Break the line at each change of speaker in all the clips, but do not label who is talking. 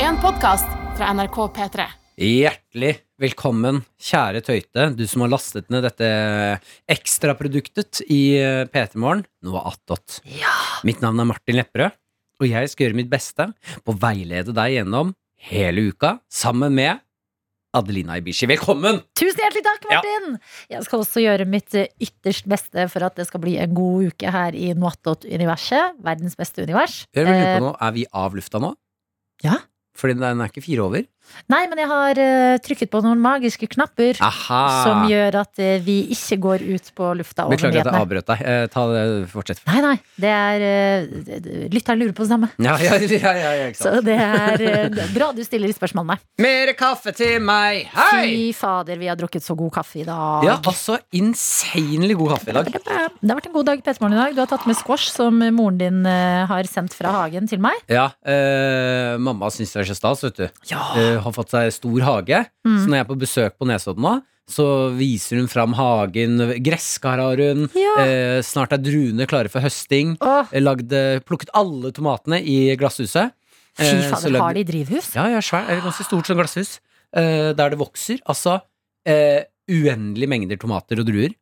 en podkast fra NRK P3.
Hjertelig velkommen, kjære Tøyte, du som har lastet ned dette ekstraproduktet i eh, P3 Morgen, noe attåt. Mitt navn er Martin Lepperød, og jeg skal gjøre mitt beste på å veilede deg gjennom hele uka sammen med Adelina Ibishi. Velkommen!
Tusen hjertelig takk,
Ja.
Martin! Jeg skal også gjøre mitt eh, ytterst beste for at det skal bli en god uke her i Noatot-universet. Verdens beste univers.
Jeg lurer
Eh,
på nå, Er vi av lufta nå?
Ja.
Fordi den er ikke fire over?
nei, men jeg har eh, trykket på noen magiske knapper
Aha!
som gjør at eh, vi ikke går ut på lufta
Ah.
over
Beklager at jeg
nyhetene.
avbrøt deg. Eh, Ta det, Fortsett.
Nei, nei. Det er eh, d- d- Lytteren lurer på det samme.
Ja, ja, ja, ja, ja, ikke
Så
sant.
det er eh, bra du stiller spørsmålene.
Mer kaffe til meg! Hei!
Fy fader, vi har drukket så god kaffe i dag.
Ja, altså insanely god kaffe i dag.
Det har vært en god dag i Petermorgen i dag. Du har tatt med squash som moren din eh, har sendt fra hagen til meg.
Ja, eh, Mamma syns det er så stas, vet du. Eh, har fått seg stor hage.
Ah. Mm.
Så når jeg er på besøk på Nesodden nå, så viser hun fram hagen. Gresskar har hun.
Ja.
Eh, snart er druene klare for høsting.
Åh,
Eh, Lagd, eh, plukket alle tomatene i glasshuset.
fy
Eh, så
fader,
lagde-
har de drivhus?
Ja, ja, svær, eh, ganske stort sånn glasshus. eh, der det vokser. Altså eh, uendelige mengder tomater og druer.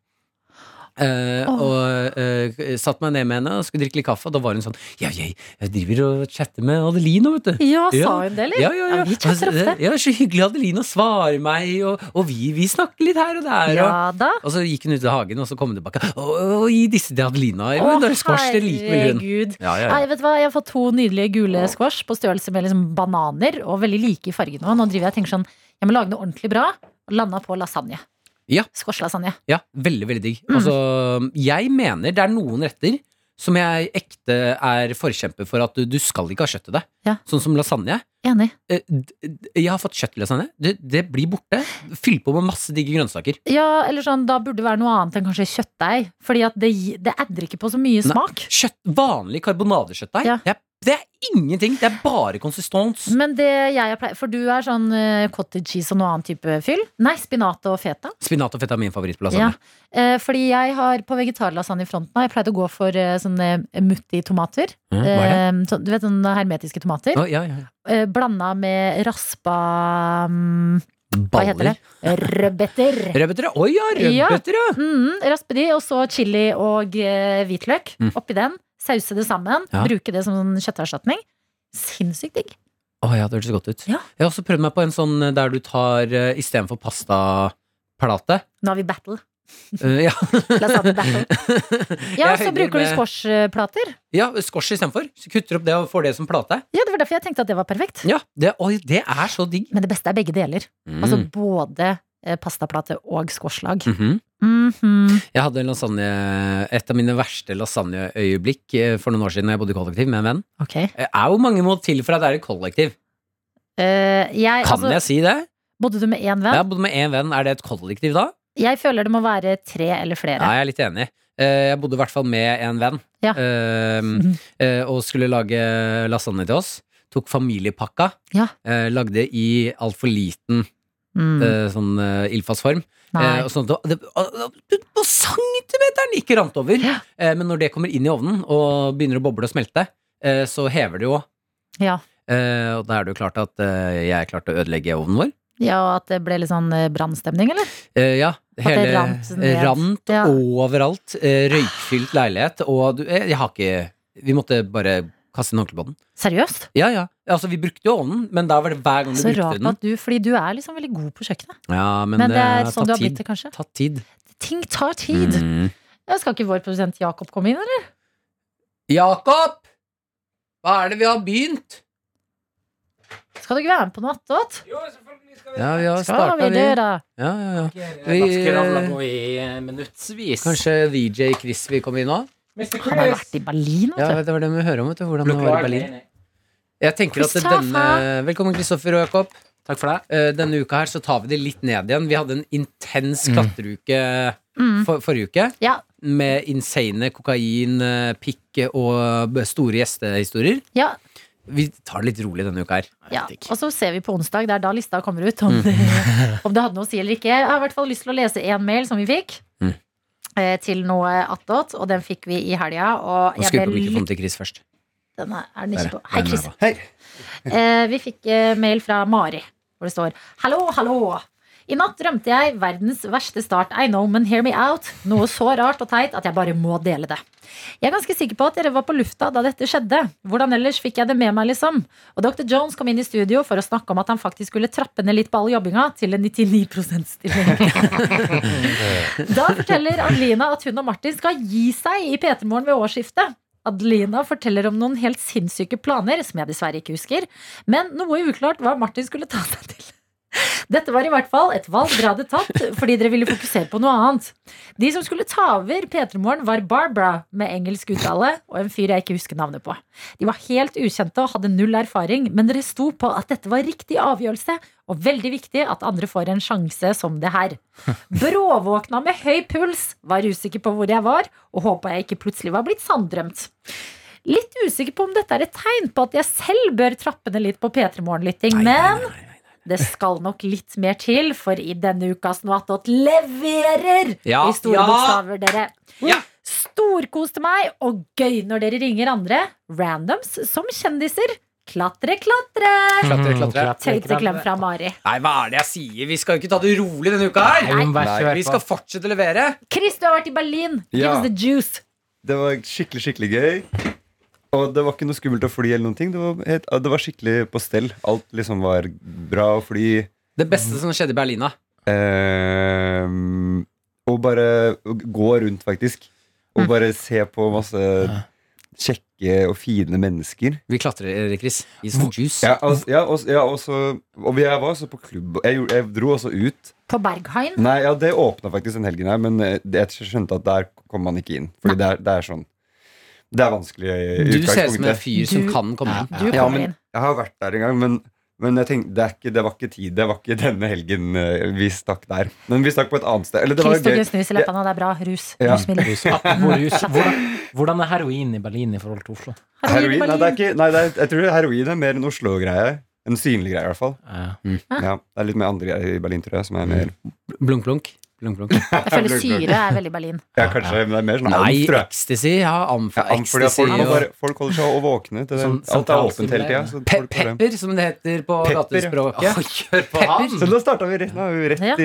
Eh,
Åh.
Og eh, satt meg ned med henne og skulle drikke litt kaffe, og da var hun sånn Ja, jeg, jeg driver og chatter med Adelina, vet du.
Ja, sa
Ja.
hun det, eller?
Ja, ja, ja.
vi chatter
Altså,
ofte.
det- ja, så hyggelig Adelina svarer meg, og, og vi, vi snakker litt her og der.
Ja
Og,
da.
og så gikk hun ut i hagen, og så kom hun tilbake. Og, og gi disse til Adelina. Ja, men det er squash, det liker vel hun.
herregud.
Ja, ja,
Nei,
ja.
vet du hva? Jeg har fått to nydelige gule squash på størrelse med liksom bananer, og veldig like i fargen nå. Nå driver jeg og tenker sånn, jeg må lage noe ordentlig bra. Og landa på lasagne.
Ja.
Squash-lasagne.
ja veldig, veldig digg.
Mm.
Altså, jeg mener det er noen retter som jeg ekte er forkjemper for at du, du skal ikke ha kjøtt i deg.
Ja.
Sånn som lasagne.
Enig.
Eh, d- d- Jeg har fått kjøttlasagne. Det, det blir borte. Fyll på med masse digge grønnsaker.
Ja, eller sånn, da burde det være noe annet enn kanskje kjøttdeig. Fordi at det, gi- det adder ikke på så mye
Nei.
smak.
Kjøtt, vanlig karbonadekjøttdeig.
Ja. Mm.
Det, er- det er ingenting. Det er bare konsistens.
Men det jeg er pleier For du er sånn eh, cottage cheese og noe annen type fyll? Nei, spinat og feta.
Spinat og fett er min favoritt på
Ja.
lasagne.
Eh, fordi jeg har på vegetarlasagne i fronten har jeg pleid å gå for eh, sånne mutti-tomater.
Mm, hva er det?
Eh, sånn- du vet sånne hermetiske tomater.
Å, ja, ja.
Eh, blanda med raspa mm, Hva heter det?
Baller.
Rødbeter.
Rødbeter, ja. Oi, ja, rødbeter, ja.
Mm, raspe de, og så chili og eh, hvitløk
Mm.
oppi den. Sause det sammen.
Ja.
Bruke det som sånn kjøtterstatning. Sinnssykt digg.
Å ja, det hørtes godt ut.
Ja.
Jeg har også prøvd meg på en sånn eh, der du tar eh, istedenfor pastaplate.
Nå har vi battle.
Uh, ja.
Lasagne battle. Ja,
Jeg
så
høyder
bruker du
med-
squashplater.
Ja, squash istedenfor. Så Kutter opp det og får det som plate.
Ja, det var derfor jeg tenkte at det var perfekt.
Ja, det, oi, det er så digg.
Men det beste er begge deler.
Mm.
Altså både eh, pastaplate og squashlag.
Mhm.
Mhm.
Jeg hadde en lasagne, et av mine verste lasagneøyeblikk eh, for noen år siden da jeg bodde i kollektiv med en venn.
Ok.
Det er jo mange må til for at det er et kollektiv.
Eh, jeg,
Kan
altså,
jeg si det?
Bodde du med én venn?
Jeg har bodd med én venn. Er det et kollektiv da?
Jeg føler det må være tre eller flere.
Ja, jeg er litt enig. Eh, Jeg bodde i hvert fall med en venn
Ja.
Eh,
Mhm.
eh, og skulle lage lasagne til oss. Tok familiepakka.
Ja.
Eh, Lagde i altfor liten
Mm,
eh, sånn eh, ildfast form.
nei.
Eh, og sånn at det, det, å- å- på centimeteren ikke rant over.
Ja.
Eh, men når det kommer inn i ovnen og begynner å boble og smelte, eh, så hever det jo.
Ja.
Eh, og da er det jo klart at eh, jeg klarte å ødelegge ovnen vår.
ja, og at det ble litt sånn eh, brannstemning, eller?
Eh, ja,
det
hele
rant ned.
rant
Ja.
overalt. Eh, røykfylt leilighet. Og du, eh, jeg har ikke Vi måtte bare kaste inn håndkleet på den.
Seriøst?
Ja, ja. Altså, vi brukte jo ovnen, men da var det hver gang du
Så
brukte
rart
den.
at du Fordi du er liksom veldig god på kjøkkenet.
Ja, men,
Men det er
eh,
sånn du
tatt
har blitt
tid.
det, kanskje.
Tatt tid.
Ting tar tid.
Mm.
Ja, Skal ikke vår produsent Jakob komme inn, eller?
Jakob! Hva er det vi har begynt?
Skal du ikke være med på noe attåt?
Jo, selvfølgelig skal vi
Ja, vi har
Skal
starta,
vi
vi.
det, da?
Ja, ja, ja. Vi,
Ganske ravla
eh,
på i eh, minuttsvis.
Kanskje VJ Chris vil komme inn nå?
Mr.
Han har jo vært i Berlin, vet du.
Ja, det var det vi hører om. Vet du, hvordan det var i Berlin.
Beklager.
Jeg tenker at denne,
Christopher!
Velkommen, Kristoffer og Jakob.
Takk for det.
Eh, Denne uka her så tar vi det litt ned igjen. Vi hadde en intens klatreuke
Mm.
for, forrige uke.
Ja.
Med insane kokain, eh, pikk og b- store gjestehistorier.
Ja,
Vi tar det litt rolig denne uka her.
Ja, og så ser vi på onsdag, det er da lista kommer ut, om det,
Mm.
om det hadde noe å si eller ikke. Jeg har i hvert fall lyst til å lese én mail som vi fikk,
Mm.
eh, til noe attåt, og den fikk vi i helga. Og
Nå
jeg
skrur på
ble litt
mikrofonen til Chris først.
den er, er den
Der,
ikke på.
ja.
Hei,
Den er
Chris.
bra.
Eh, vi fikk eh, mail fra Mari, hvor det står Hallo, hallo! I natt drømte jeg verdens verste start. I know, men hear me out. Noe så rart og teit at jeg bare må dele det. Jeg er ganske sikker på at dere var på lufta da dette skjedde. Hvordan ellers fikk jeg det med meg, liksom? Og Dr. Jones kom inn i studio for å snakke om at han faktisk skulle trappe ned litt på all jobbinga til en 99 %-stilling. Da forteller Adelina at hun og Martin skal gi seg i P3morgen ved årsskiftet. Adelina forteller om noen helt sinnssyke planer, som jeg dessverre ikke husker, men noe uklart hva Martin skulle ta seg til. Dette var i hvert fall et valg dere hadde tatt fordi dere ville fokusere på noe annet. De som skulle ta over P3morgen, var Barbara med engelsk uttale og en fyr jeg ikke husker navnet på. De var helt ukjente og hadde null erfaring, men dere sto på at dette var riktig avgjørelse og veldig viktig at andre får en sjanse som det her. Bråvåkna med høy puls, var usikker på hvor jeg var, og håpa jeg ikke plutselig var blitt sanddrømt. Litt usikker på om dette er et tegn på at jeg selv bør trappe ned litt på P3 Morgen-lytting, men det skal nok litt mer til, for i denne ukas Noe attåt leverer
Ja,
i store
ja.
bokstaver, dere.
Ja.
Storkoste meg, og gøy når dere ringer andre. Randoms som kjendiser. Klatre, klatre!
Klatre,
Mhm, Mm.
klatre.
Tøyteklem fra Mari.
Nei, hva er det jeg sier? Vi skal jo ikke ta det rolig denne uka her!
Nei, vi må bare
Nei.
kjøre
Vi
på.
skal fortsette å levere.
Chris, du har vært i Berlin. Give
Ja.
us the juice.
Det var skikkelig, skikkelig gøy. Og det var ikke noe skummelt å fly eller noen ting. Det var, helt, det var skikkelig på stell. Alt liksom var bra å fly.
Det beste som skjedde i Berlina.
Ehm, og bare gå rundt, faktisk.
Mm.
Og bare se på masse kjekke og fine mennesker.
Vi klatrer, Chris. Gi oss juice.
Ja, altså, ja, og, ja, og så- og jeg var også på klubb. Jeg, gjorde- jeg dro også ut.
På Berghain.
Nei, ja, det åpna faktisk den helgen her, men eh, jeg skjønte at der kommer man ikke inn. Fordi det er, det er sånn Det er vanskelig i
Du ser ut som en
utgangspunktet.
fyr som
Du-
kan komme inn.
Du kommer
Ja, men
inn.
jeg har vært der en gang, men, men jeg tenkte, det, er ikke, det var ikke tid. Det var ikke denne helgen eh, vi stakk der. Men vi stakk på et annet sted. Eller det var
Chris tok
gøy.
en snus i leppene, det er bra. Rus.
Ja.
Rusmiddel.
Apropos rus, hvordan, hvordan er heroin i Berlin i forhold til Oslo?
Heroin? Nei, det er
Berlin.
ikke, nei det er, jeg tror heroin er mer en Oslo-greie. En synlig greie, i hvert fall. Ja, det er litt mer andre greier i Berlin, tror jeg. Som er mer
Blunk, blunk. blunk, blunk.
Jeg føler syre er veldig Berlin.
Ja, kanskje, men det er mer sånn
Nei,
amf, tror jeg.
ecstasy. Ja, amf
Ja, amf, fordi at
ecstasy
folk, må
og
bare, folk holder seg å våkne. til det.
Sånn
Alt er åpent hele tida.
sentralstimulerende.
så
Pe
folk får det.
pepper, som det heter på
Pepper, ja.
gatespråket.
Pepper.
Så da starta vi rett, nå er vi rett
Ja.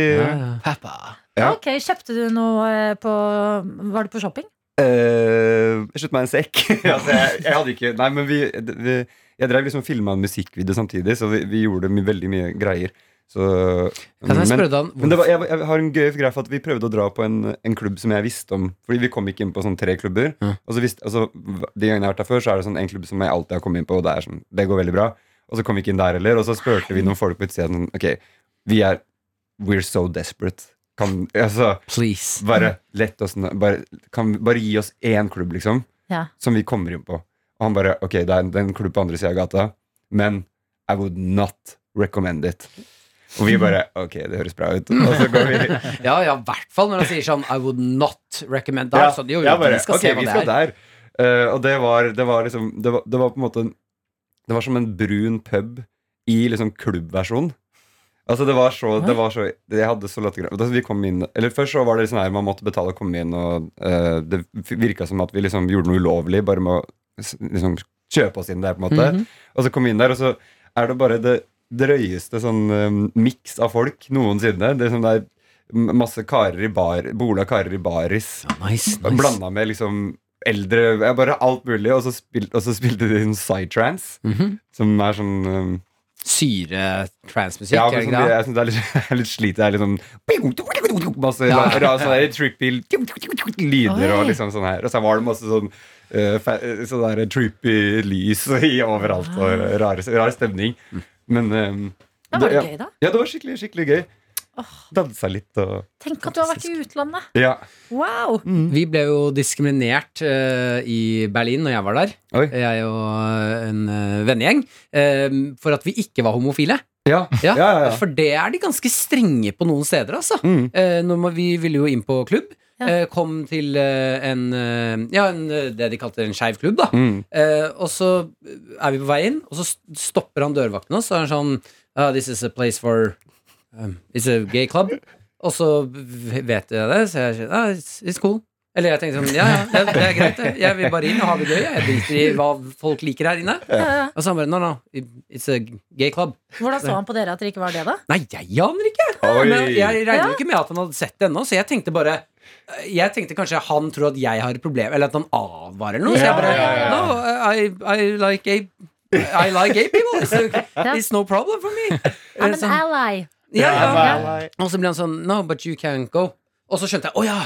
i Ja.
Ok, Kjøpte du noe eh, på Var du på shopping?
Eh, Jeg Slutt meg en sekk. altså, jeg, jeg hadde ikke Nei, men vi, vi Jeg drev liksom og filma en musikkvideo samtidig, så vi, vi gjorde my, veldig mye greier. Så
Kan jeg spørre
men,
deg om
men det var, jeg, jeg har en gøy greie for at vi prøvde å dra på en, en klubb som jeg visste om. Fordi vi kom ikke inn på sånn tre klubber.
Ja.
Og så visste, altså, De gangene jeg har vært der før, så er det sånn en klubb som jeg alltid har kommet inn på, og det, er sånn, det går veldig bra. Og så kom vi ikke inn der heller, og så spurte vi noen folk på utsida sånn Ok, vi er We're so desperate. Kan, altså,
Please.
bare lett oss nå- bare, kan, vi- bare gi oss én klubb, liksom,
Ja.
som vi kommer inn på. Og han bare Ok, det er en, det er en klubb på andre sida av gata, men I would not recommend it. Og vi bare Ok, det høres bra ut. Og så går vi
Ja, ja, i hvert fall når han sier sånn I would not recommend that. så det er jo,
jeg bare,
vi skal
ok,
se hva
vi
det
skal
er.
der. Eh, og det var, det var liksom det var, det var på en måte en- Det var som en brun pub i liksom klubbversjon. Altså det var så, det var så Jeg hadde så latterlig altså, Vi kom inn Eller først så var det liksom her man måtte betale og komme inn, og eh, det virka som at vi liksom gjorde noe ulovlig bare med å s- liksom kjøpe oss inn der, på en måte.
Mhm.
Og så kom vi inn der, og så er det bare det drøyeste sånn um, miks av folk noensinne. Det er, sånn, det er masse karer i bar, bola karer i baris.
Nice, nice.
Blanda med liksom eldre ja, Bare alt mulig. Og så, spil, og så spilte de en psytrance,
Mhm.
som er sånn um,
Syre-transmusikk, er
Ja, men
det
som,
ikke det?
jeg syns det er litt, er litt slitt. Det er litt sånn Masse
Ja.
ra- sånn der trippy lyder og
Oi.
liksom sånn her. Og så var det masse sånn eh, fa- eh, sånn der trippy lys i overalt og
Ah.
rar, rar stemning.
Mm.
Men um,
Ja, var det
ja.
gøy, da?
ja, det var skikkelig, skikkelig gøy. Dansa litt og
Tenk at du har vært i utlandet.
Ja.
Wow!
Mm. Vi ble jo diskriminert eh, i Berlin når jeg var der,
Oi.
jeg og en eh, vennegjeng, eh, for at vi ikke var homofile.
Ja.
Ja,
ja, ja.
For det er de ganske strenge på noen steder, altså.
Mm.
Eh, når man, vi ville jo inn på klubb.
Ja.
eh, Kom til eh, en, eh, ja, en, eh, det de kalte en skeiv klubb, da.
Mm.
Eh, og så er vi på vei inn, og så st- stopper han dørvakten oss. Og så er han sånn «Ah, This is a place for um, It's a gay club. Og så v- vet jeg det, så jeg sier ah, it's, it's cool. Eller jeg tenkte sånn, ja, ja, det- det er greit, det. Jeg vil bare inn og ha det gøy. Jeg driter i hva folk liker her inne. Og så han bare, no, no, it's a gay club.
Eh, Hvordan så han på dere at dere ikke var det, da?
Nei, jeg aner ikke.
Oi.
Men jeg regner
Ja.
jo ikke med at han hadde sett det ennå, så jeg tenkte bare Jeg tenkte kanskje han tror at jeg har et problem, eller at han advarer eller noe. Så jeg
Ja,
bare
ja, ja.
No, I, I like gay I like gay people. It's, it's no problem for me.
I'm an
Sånn,
ally.
ja,
I'm
ja.
an ally.
Og så ble han sånn No, but you can't go. Og så skjønte jeg Å ja!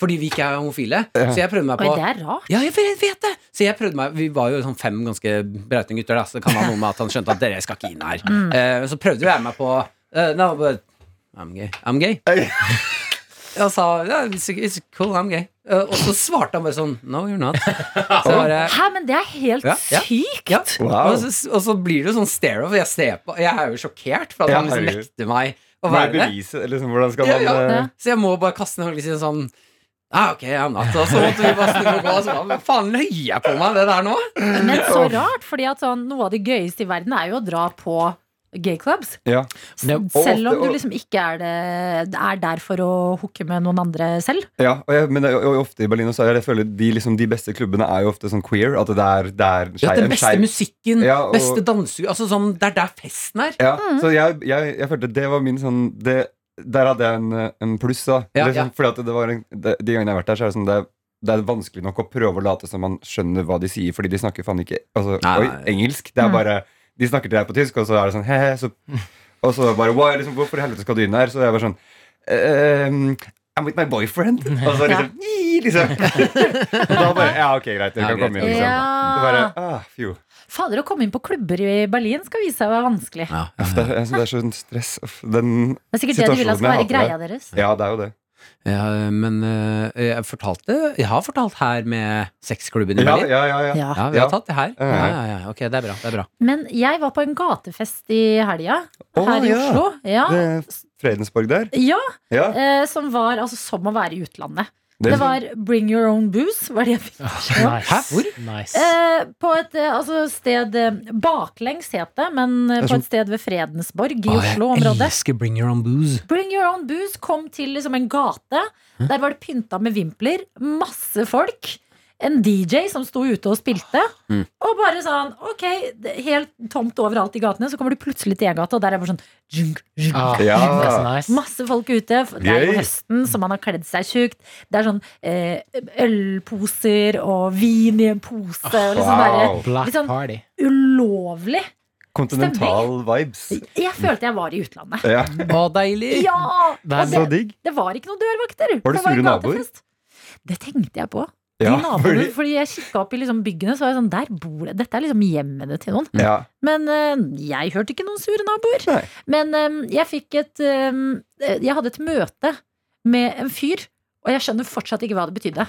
Fordi vi ikke er homofile. Så jeg prøvde meg
Oi,
på
det er rart.
ja, jeg vet vet det! Så jeg prøvde meg Vi var jo sånn fem ganske brautende gutter, da, så det kan være noe med at han skjønte at dere skal ikke inn her. Eh, så prøvde jeg meg på eh, No, but I'm gay. I'm gay. Jeg sa yeah, it's, it's cool, I'm gay. Eh, og så svarte han bare sånn No, you're not. Så jeg bare
Hæ, men det er helt
Ja, ja.
sykt!
ja.
Wow.
Og, så, og så blir det jo sånn stare-off. Jeg, ser på- jeg er jo sjokkert for at
Ja,
han liksom
herregud.
nekter meg å
Hva er
være det.
beviset? Eller Liksom, hvordan skal
Ja,
man
ja.
eh,
Ja.
Så jeg må bare kaste en liksom sånn ah, ok, I'm not. Og så måtte vi bare snu og gå. Og så bare, Hva faen løy jeg på meg det der nå?
Men så rart, fordi at sånn, noe av det gøyeste i verden er jo å dra på gay clubs.
eh, Ja.
Selv om
og-
du liksom ikke er, det, er der for å hooke med noen andre selv.
Ja, og jeg, men det, og, og ofte i Berlin også, er det- jeg føler de, liksom, de beste klubbene er jo ofte sånn queer. At det er, det er skei-
den
en
beste
skeiv-
musikken,
Ja, og-
beste danse... Altså sånn, Det er der festen er.
Ja, så jeg, jeg, jeg følte det var min sånn det, Der hadde jeg en, eh, en pluss, da.
Ja,
Eller
ja.
sånn, Fordi at det var en, det, De gangene jeg har vært der, så er det sånn det, er- det er vanskelig nok å prøve å late som man skjønner hva de sier, fordi de snakker faen ikke altså,
Nei,
oi,
nei. Mm.
engelsk. Det er bare De snakker til deg på tysk, og så er det sånn he-he, så Og så bare wow, liksom, Hvorfor i helvete skal du inn her? Så jeg var sånn ehm, I'm with my boyfriend. Og så liksom, «Ii», liksom. Og da bare Ja, ok, greit. Dere
Ja,
kan
greit.
komme inn. Liksom. Så bare, ah, fjo.
Fader, å komme inn på klubber i Berlin skal vise seg å være vanskelig.
Uff, Det, er- jeg synes det er sånn stress. Uff, Den
Det er sikkert det de vil at skal være
Situasjonen jeg hater
greia deres.
Ja, det er jo det.
Ja, men eh, jeg fortalte Jeg har fortalt her med sexklubben i
Ja,
Berlin. Ja,
ja, ja, ja.
Ja.
vi har
Ja.
tatt det her.
Ja,
Ja,
ja.
ja, ja. Ok, det er bra. det er bra
Men jeg var på en gatefest i helga,
Å,
her i
ja.
Oslo. Ja.
Det er Fredensborg der.
ja,
Ja.
eh, som var altså som å være i utlandet.
Det-
Det var Bring Your Own Booze, var det jeg fikk beskjed om.
Hæ, hvor?
Nice.
Eh, på et eh, altså, sted eh, Baklengs het det, men eh,
Det er
på
sånn-
et sted ved Fredensborg i
Å, jeg
Oslo-området.
elsker Bring Your Own Booze.
Bring Your Own Booze kom til liksom en gate. Der var det pynta med vimpler. Masse folk. En DJ som sto ute og spilte.
Mm.
Og bare sånn, ok, det er helt tomt overalt i gatene. Så kommer du plutselig til en gate, og der er det bare sånn junk, junk.
Ah,
Ja.
Det er så nice.
Masse folk ute. Det er jo
Gøy.
høsten, så man har kledd seg tjukt. Det er sånn eh, ølposer og vin i en pose. og liksom bare
Ah, Wow.
Black
Litt sånn-
party.
Ulovlig.
Kontinental vibes.
Jeg følte jeg var i utlandet.
Ja.
Å, deilig!
Ja!
Det
Og
er
Så digg.
Det var ikke noen dørvakter.
Var
en
det sure naboer?
gatefest. Det tenkte jeg på. De
Ja,
naboene, fordi...
fordi-
jeg kikka opp i liksom byggene, så var jeg sånn Der bor det Dette er liksom hjemmene til noen.
Ja.
Men eh, jeg hørte ikke noen sure naboer.
Nei.
Men eh, jeg fikk et eh, Jeg hadde et møte med en fyr, og jeg skjønner fortsatt ikke hva det betydde.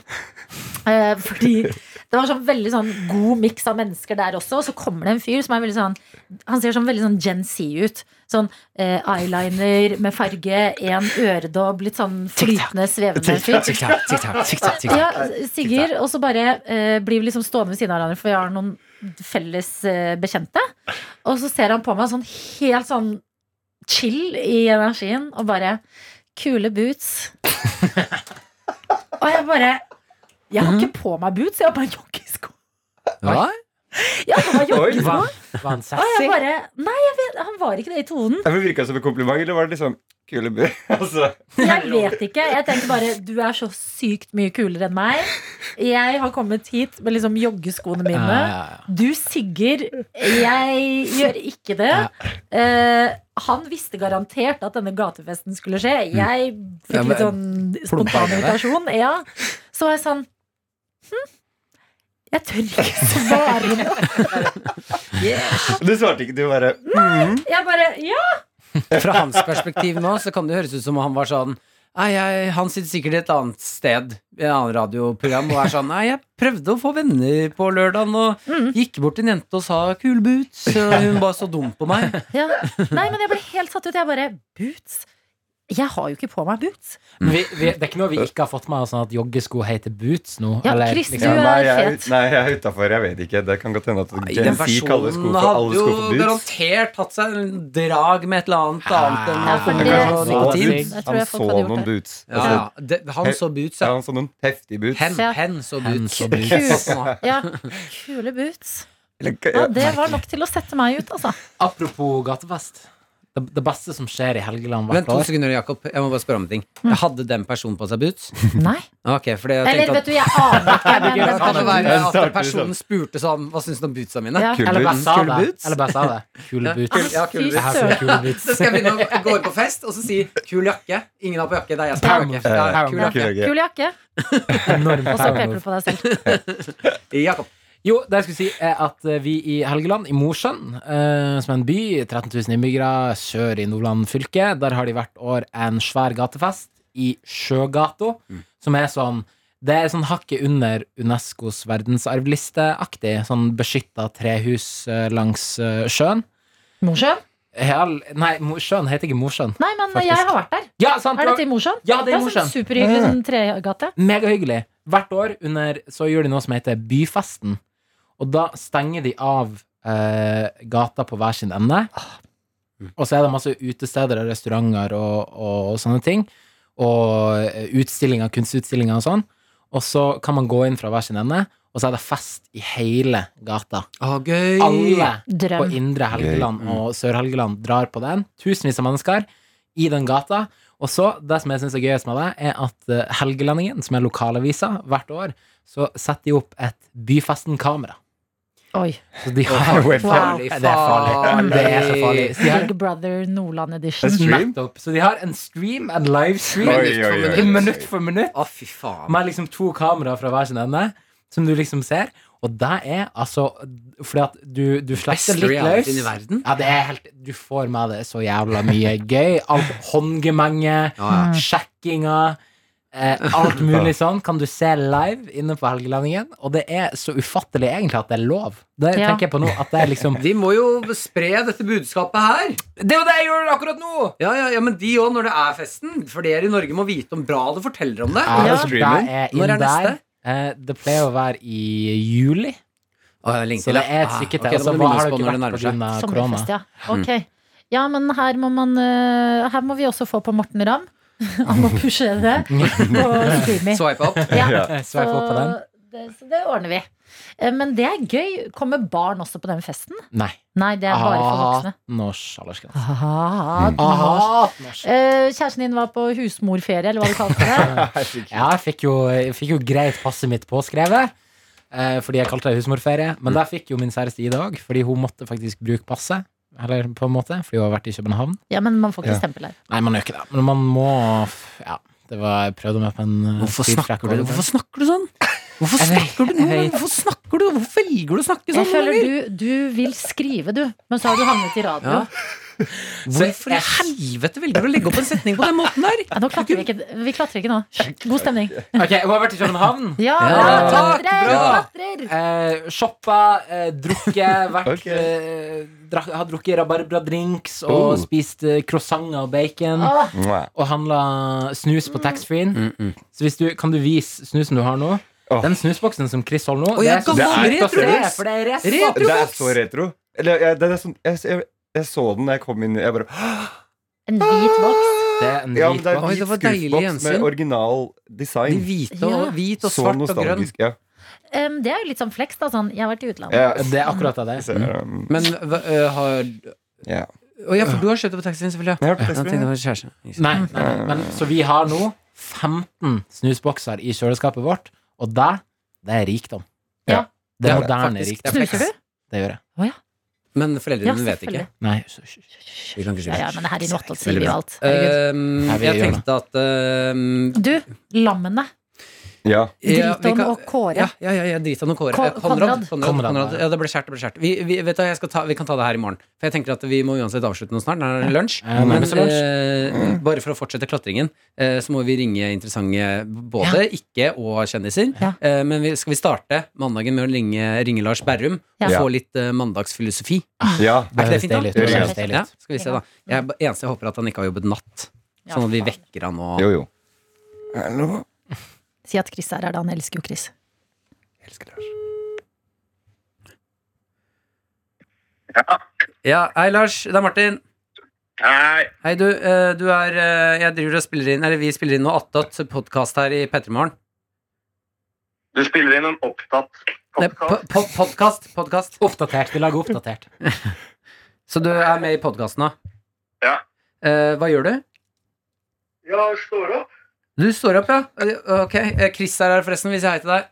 Eh, fordi det var sånn veldig sånn god miks av mennesker der også, og så kommer det en fyr som er veldig sånn Han ser sånn veldig sånn Gen Z ut. Sånn eh, eyeliner med farge, én øredobb, litt sånn flytende, svevende fyr.
Tikk-takk, tikk-takk, tikk-takk, tikk-takk.
Ja, Sigurd, og så bare eh, blir vi liksom stående ved siden av hverandre, for vi har noen felles eh, bekjente. Og så ser han på meg sånn helt sånn chill i energien, og bare Kule boots. og jeg bare Jeg har ikke på meg boots, jeg har bare joggesko.
Hva?
Jeg har bare
Oi.
joggesko.
Var, var han
Og jeg
sassy?
bare Nei, jeg vet, han var ikke det i tonen.
Ja, men Virka det som et kompliment, eller var det liksom kule bu? Altså,
Jeg vet ikke. Jeg tenkte bare du er så sykt mye kulere enn meg. Jeg har kommet hit med liksom joggeskoene
Ja,
mine.
ja, ja.
Du, Sigurd, jeg gjør ikke det. Eh, han visste garantert at denne gatefesten skulle skje. Jeg
Mm. Ja,
fikk litt sånn
plumpa det
spontan
der.
invitasjon. Ja. Så var jeg sånn hm, Jeg tør ikke svare noe.
du svarte ikke, du bare mm.
Jeg bare Ja!
Fra hans perspektiv nå så kan det høres ut som om han var sånn Nei, jeg, Han sitter sikkert i et annet sted, i et annet radioprogram, og er sånn Nei, jeg prøvde å få venner på lørdagen, og gikk bort til en jente og sa kule boots, og hun bare så dum på meg.
ja. Nei, men jeg ble helt satt ut. Jeg bare Boots? Jeg har jo ikke på meg boots.
Men vi, vi, det er ikke noe vi ikke har fått med oss, sånn at joggesko heter boots nå.
Ja,
eller
Chris,
liksom-
du er
nei, jeg,
fet.
nei, jeg er utafor. Jeg vet ikke. Det kan godt hende at
Nei,
Gen Z kaller sko for alle sko for boots.
garantert hatt seg en drag med et eller annet annet enn
Ja,
for
alkohol
det-
og
Han så
det-
nikotin.
boots.
Jeg tror
Han
jeg folk
så
hadde gjort
noen
det.
boots.
Ja,
Altså,
ja. Det, han så boots,
ja,
ja.
han så noen heftige boots.
Hen,
Ja.
hen så
Hen
boots.
så boots.
Yes.
Ja, Kule boots.
Eller-
Ja, det var nok til å sette meg ut, altså.
Apropos gatefest. Det, det beste som skjer i Helgeland
Vent
hvert
to
år.
sekunder, Jakob. Jeg må bare spørre om en ting. Jeg hadde den personen på seg boots?
Nei.
Ok, for jeg
Mm.
tenkte
Eller vet
at
du, jeg aner ikke.
det
Jeg mener,
kan jo være
Den
at
starter
personen spurte sånn Hva syns du om bootsa mine?
Ja. Ah,
Kule
Eller bare
boots.
sa
Kule
det.
boots?
Eller bare sa det. Kule
Kul,
boots.
ja, kul
Fy
Jeg har
boots.
så
søren.
kule
Så
boots.
skal jeg begynne å gå ut på fest og så si 'kul jakke'. Ingen har på jakke. Det er jeg som har
Eh,
jakke. Ja, kul
Kul
jakke.
jakke.
Kul jakke,
Enorm
og så peker
power.
du på deg selv.
Jakob.
Jo, det jeg skulle si er at eh, vi i Helgeland, i Mosjøen, eh, som er en by, 13 000 innbyggere, sør i Nordland fylke, der har de hvert år en svær gatefest i Sjøgato, som er sånn det er sånn hakket under Unescos verdensarvlisteaktig. Sånn beskytta trehus eh, langs eh, sjøen.
Mosjøen?
Hel, nei, Mo- sjøen heter ikke Mosjøen.
Nei, men
Faktisk.
jeg har vært der.
Ja, sant!
Er
det var-
dette i Mosjøen?
Ja, det er i
sånn
Mosjøen.
Superhyggelig sånn tregate.
Megahyggelig. Hvert år under, så gjør de noe som heter Byfesten. Og da stenger de av eh, gata på hver sin ende. Og så er det masse utesteder og restauranter og, og, og sånne ting. Og eh, utstillinger, kunstutstillinger og sånn. Og så kan man gå inn fra hver sin ende, og så er det fest i hele gata.
Å, gøy.
Alle på
Drøm.
Indre Helgeland
Gøy. Mm.
og Sør-Helgeland drar på den. Tusenvis av mennesker i den gata. Og så, det som jeg syns er gøyest med det, er at eh, Helgelandingen, som er lokalavisa hvert år, så setter de opp et Byfesten-kamera.
Oi.
Så de har
Wow.
Farlig, Det er farlig. Det er så farlig. Så de har,
Big Brother Nordland Edition.
En stream?
nettopp, så de har en stream, en livestream,
Oi, oi, oi.
i minutt for minutt,
Å, fy faen.
med liksom to kameraer fra hver sin ende, som du liksom ser. Og det er altså Fordi at du, du
Beste
slipper litt
realityen i
løs.
verden.
Ja, det er helt Du får med deg så jævla mye gøy. Alt håndgemenge,
Mm.
Ja,
sjekkinger, eh, alt mulig sånn kan du se live inne på Helgelandingen. Og det er så ufattelig egentlig at det er lov. Det
Ja.
tenker jeg på nå. At det er liksom
Vi må jo spre dette budskapet her.
Det er jo det jeg gjør akkurat nå!
Ja, ja, ja, Men de òg, når det er festen. Flere i Norge må vite om bra du forteller om det.
Ja,
Ja.
det er
Når er
inn der.
neste?
Eh, det pleier å være i juli,
Å, jeg lengter.
så det er et
Ah,
stykke
ok,
til.
da
Altså,
må du
hva
minnes på
har du ikke
når det
vært
nærmer
på grunn av korona?
Sommerfest, ja.
Mm.
Ok. Ja, men her må man eh, Her må vi også få på Morten Ramm. Han må pushe det på streamy.
seg. Swipe opp.
Ja.
Eh, Sveip opp på den?
det, så det ordner vi. Eh, Men det er gøy. Kommer barn også på den festen?
Nei.
Nei, det er bare for voksne.
18 års aldersgrense.
Aha.
Ah.
Eh, kjæresten din var på husmorferie, eller hva du kalte det.
Ja, jeg fikk jo, jeg fikk jo greit passet mitt påskrevet. Eh, fordi jeg kalte det husmorferie. Men det fikk jo min kjæreste i dag, fordi hun måtte faktisk bruke passet. Eller på en måte, fordi hun har vært i København.
Ja, men man får ikke
Ja.
stempel her.
Nei, man gjør ikke det. Men man må Ja, det var Jeg prøvde meg på en eh,
Hvorfor
speed track
snakker du,
over-
hvorfor snakker du sånn? Hvorfor
Jeg vet-
snakker du noe?
jeg vet.
Hvorfor snakker du? Hvorfor velger du å snakke sånn?
Jeg føler
Roger?
du, du vil skrive, du, men så har du havnet i radio.
Ja. Hvorfor i
jeg-
helvete velger du å legge opp en setning på den måten der?
Ja, nå klatrer vi ikke. Vi klatrer ikke nå. God stemning.
sånn. Ok, hun har vært i København.
Ja,
Ja,
klatrer,
takk, bra.
klatrer!
Eh, shoppa, eh, drukket, vært
Ok.
eh, drak, Har drukket rabarbradrinks og
Oh.
spist eh, croissanter og bacon.
Åh,
Mwah.
og handla snus på taxfree-en.
Mm,
Så hvis du, kan du vise snusen du har nå?
Åh.
Den snusboksen som Chris holder nå,
Å, jeg
så
gammel
sykt å se,
retroboks!
for det er rest-
Retro-
Det er så retro. Eller, jeg, det er sånn, jeg, jeg, jeg så den da jeg kom inn. Jeg bare
En hvit boks.
Det er en
Ja, men det er
dritbra-
Oi,
hvit
det var deilig
skuffboks
gjensyn.
med original
De
design.
hvite og,
Ja.
hvit og
Så
svart og grønn.
nostalgisk. Ja.
Um, det er jo litt sånn flex, da. Sånn, jeg har vært i utlandet.
Ja.
Det er akkurat det det
Så,
er.
Mm.
um,
Men hva, ø, har
ja.
Å ja, for du har kjøpt det på taxien, selvfølgelig.
Jeg har hørt
Ja, Jeg tenkte det
det.
var kjæreste.
Nei, nei, nei, men så vi har nå 15 snusbokser i kjøleskapet vårt, og det, det er rikdom.
Ja.
Det er
Ja,
moderne
faktisk.
rikdom.
Det er flex.
Snuser du?
Det gjør jeg.
Men foreldrene
Ja,
dine vet ikke.
selvfølgelig.
Nei,
Vi kan ikke Eh, si
Ja,
det.
ja, men her i Nottått sier
Veldig
vi jo
bra.
alt. Herregud.
Øhm,
Nei, vi
jeg
gjør
tenkte at øhm,
Du, lammene.
Ja.
ja, vi
Driton
kan-
og Kåre.
Ja, ja, ja, ja Dritan og Kåre.
Ko-
Eh, Konrad. Konrad,
Konrad.
Konrad,
Konrad.
ja.
Ja, det ble skjært. Det ble skjært. Vi, vi, vet du, hva, jeg skal ta, vi kan ta det her i morgen. For jeg tenker at Vi må uansett avslutte noe snart. Det er lunsj.
Ja,
Men
nærmest
eh, bare for å fortsette klatringen, eh, så må vi ringe interessante både ikke- og kjendiser.
Ja.
Eh, men vi, skal vi starte mandagen med å ringe, ringe Lars Berrum
Ja.
og få litt eh, mandagsfilosofi?
ja.
Er ikke det
Det høres
fint, da?
deilig ut. Det høres
Ja.
deilig
Ja,
ut.
skal vi se, da. Jeg, eneste jeg håper, er at han ikke har jobbet natt.
Ja,
sånn at vi
faen.
vekker han og
Jo, jo. Hallo.
Si at Chris er her, da. Han elsker jo Chris.
Jeg elsker Lars.
Ja, hei, Lars. Det er Martin.
Hei.
Hei, du. eh, Du er eh, Jeg driver og spiller inn Eller vi spiller inn noe attåt podkast her i Petremorgen.
Du spiller inn en opptatt podkast.
Podkast. Podkast.
Oppdatert. Vi lager oppdatert.
Så du er med i podkasten nå?
Ja.
Eh, Hva gjør du?
Ja, står opp.
Du står opp, ja. Eh, Ok. Eh, Chris er her, forresten. Vi sier hei til deg.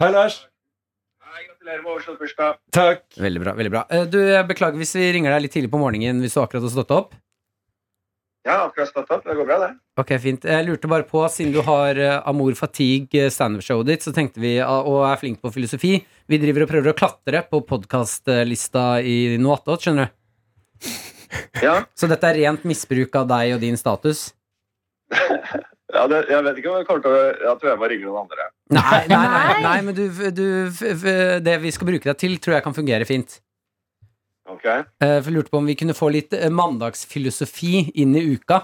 Hei, Lars.
Nei, gratulerer med overstått bursdag.
Takk.
Veldig bra. veldig bra Eh, Du, jeg Beklager hvis vi ringer deg litt tidlig på morgenen hvis du akkurat har stått opp.
Ja, akkurat stått opp. Det går bra, det.
Ok, fint. Jeg lurte bare på, siden du har eh, Amor Fatigue eh, standup-showet ditt, så tenkte vi, ah, og er flink på filosofi Vi driver og prøver å klatre på podkastlista i noe attåt, skjønner du.
Ja,
Så dette er rent misbruk av deg og din status?
ja det, Jeg vet ikke om jeg kommer til å Jeg tror jeg må ringe noen andre.
Nei, nei, nei,
Nei.
nei men du, du f- f- Det vi skal bruke deg til, tror jeg kan fungere fint.
Ok?
Eh, For jeg lurte på om vi kunne få litt eh, mandagsfilosofi inn i uka.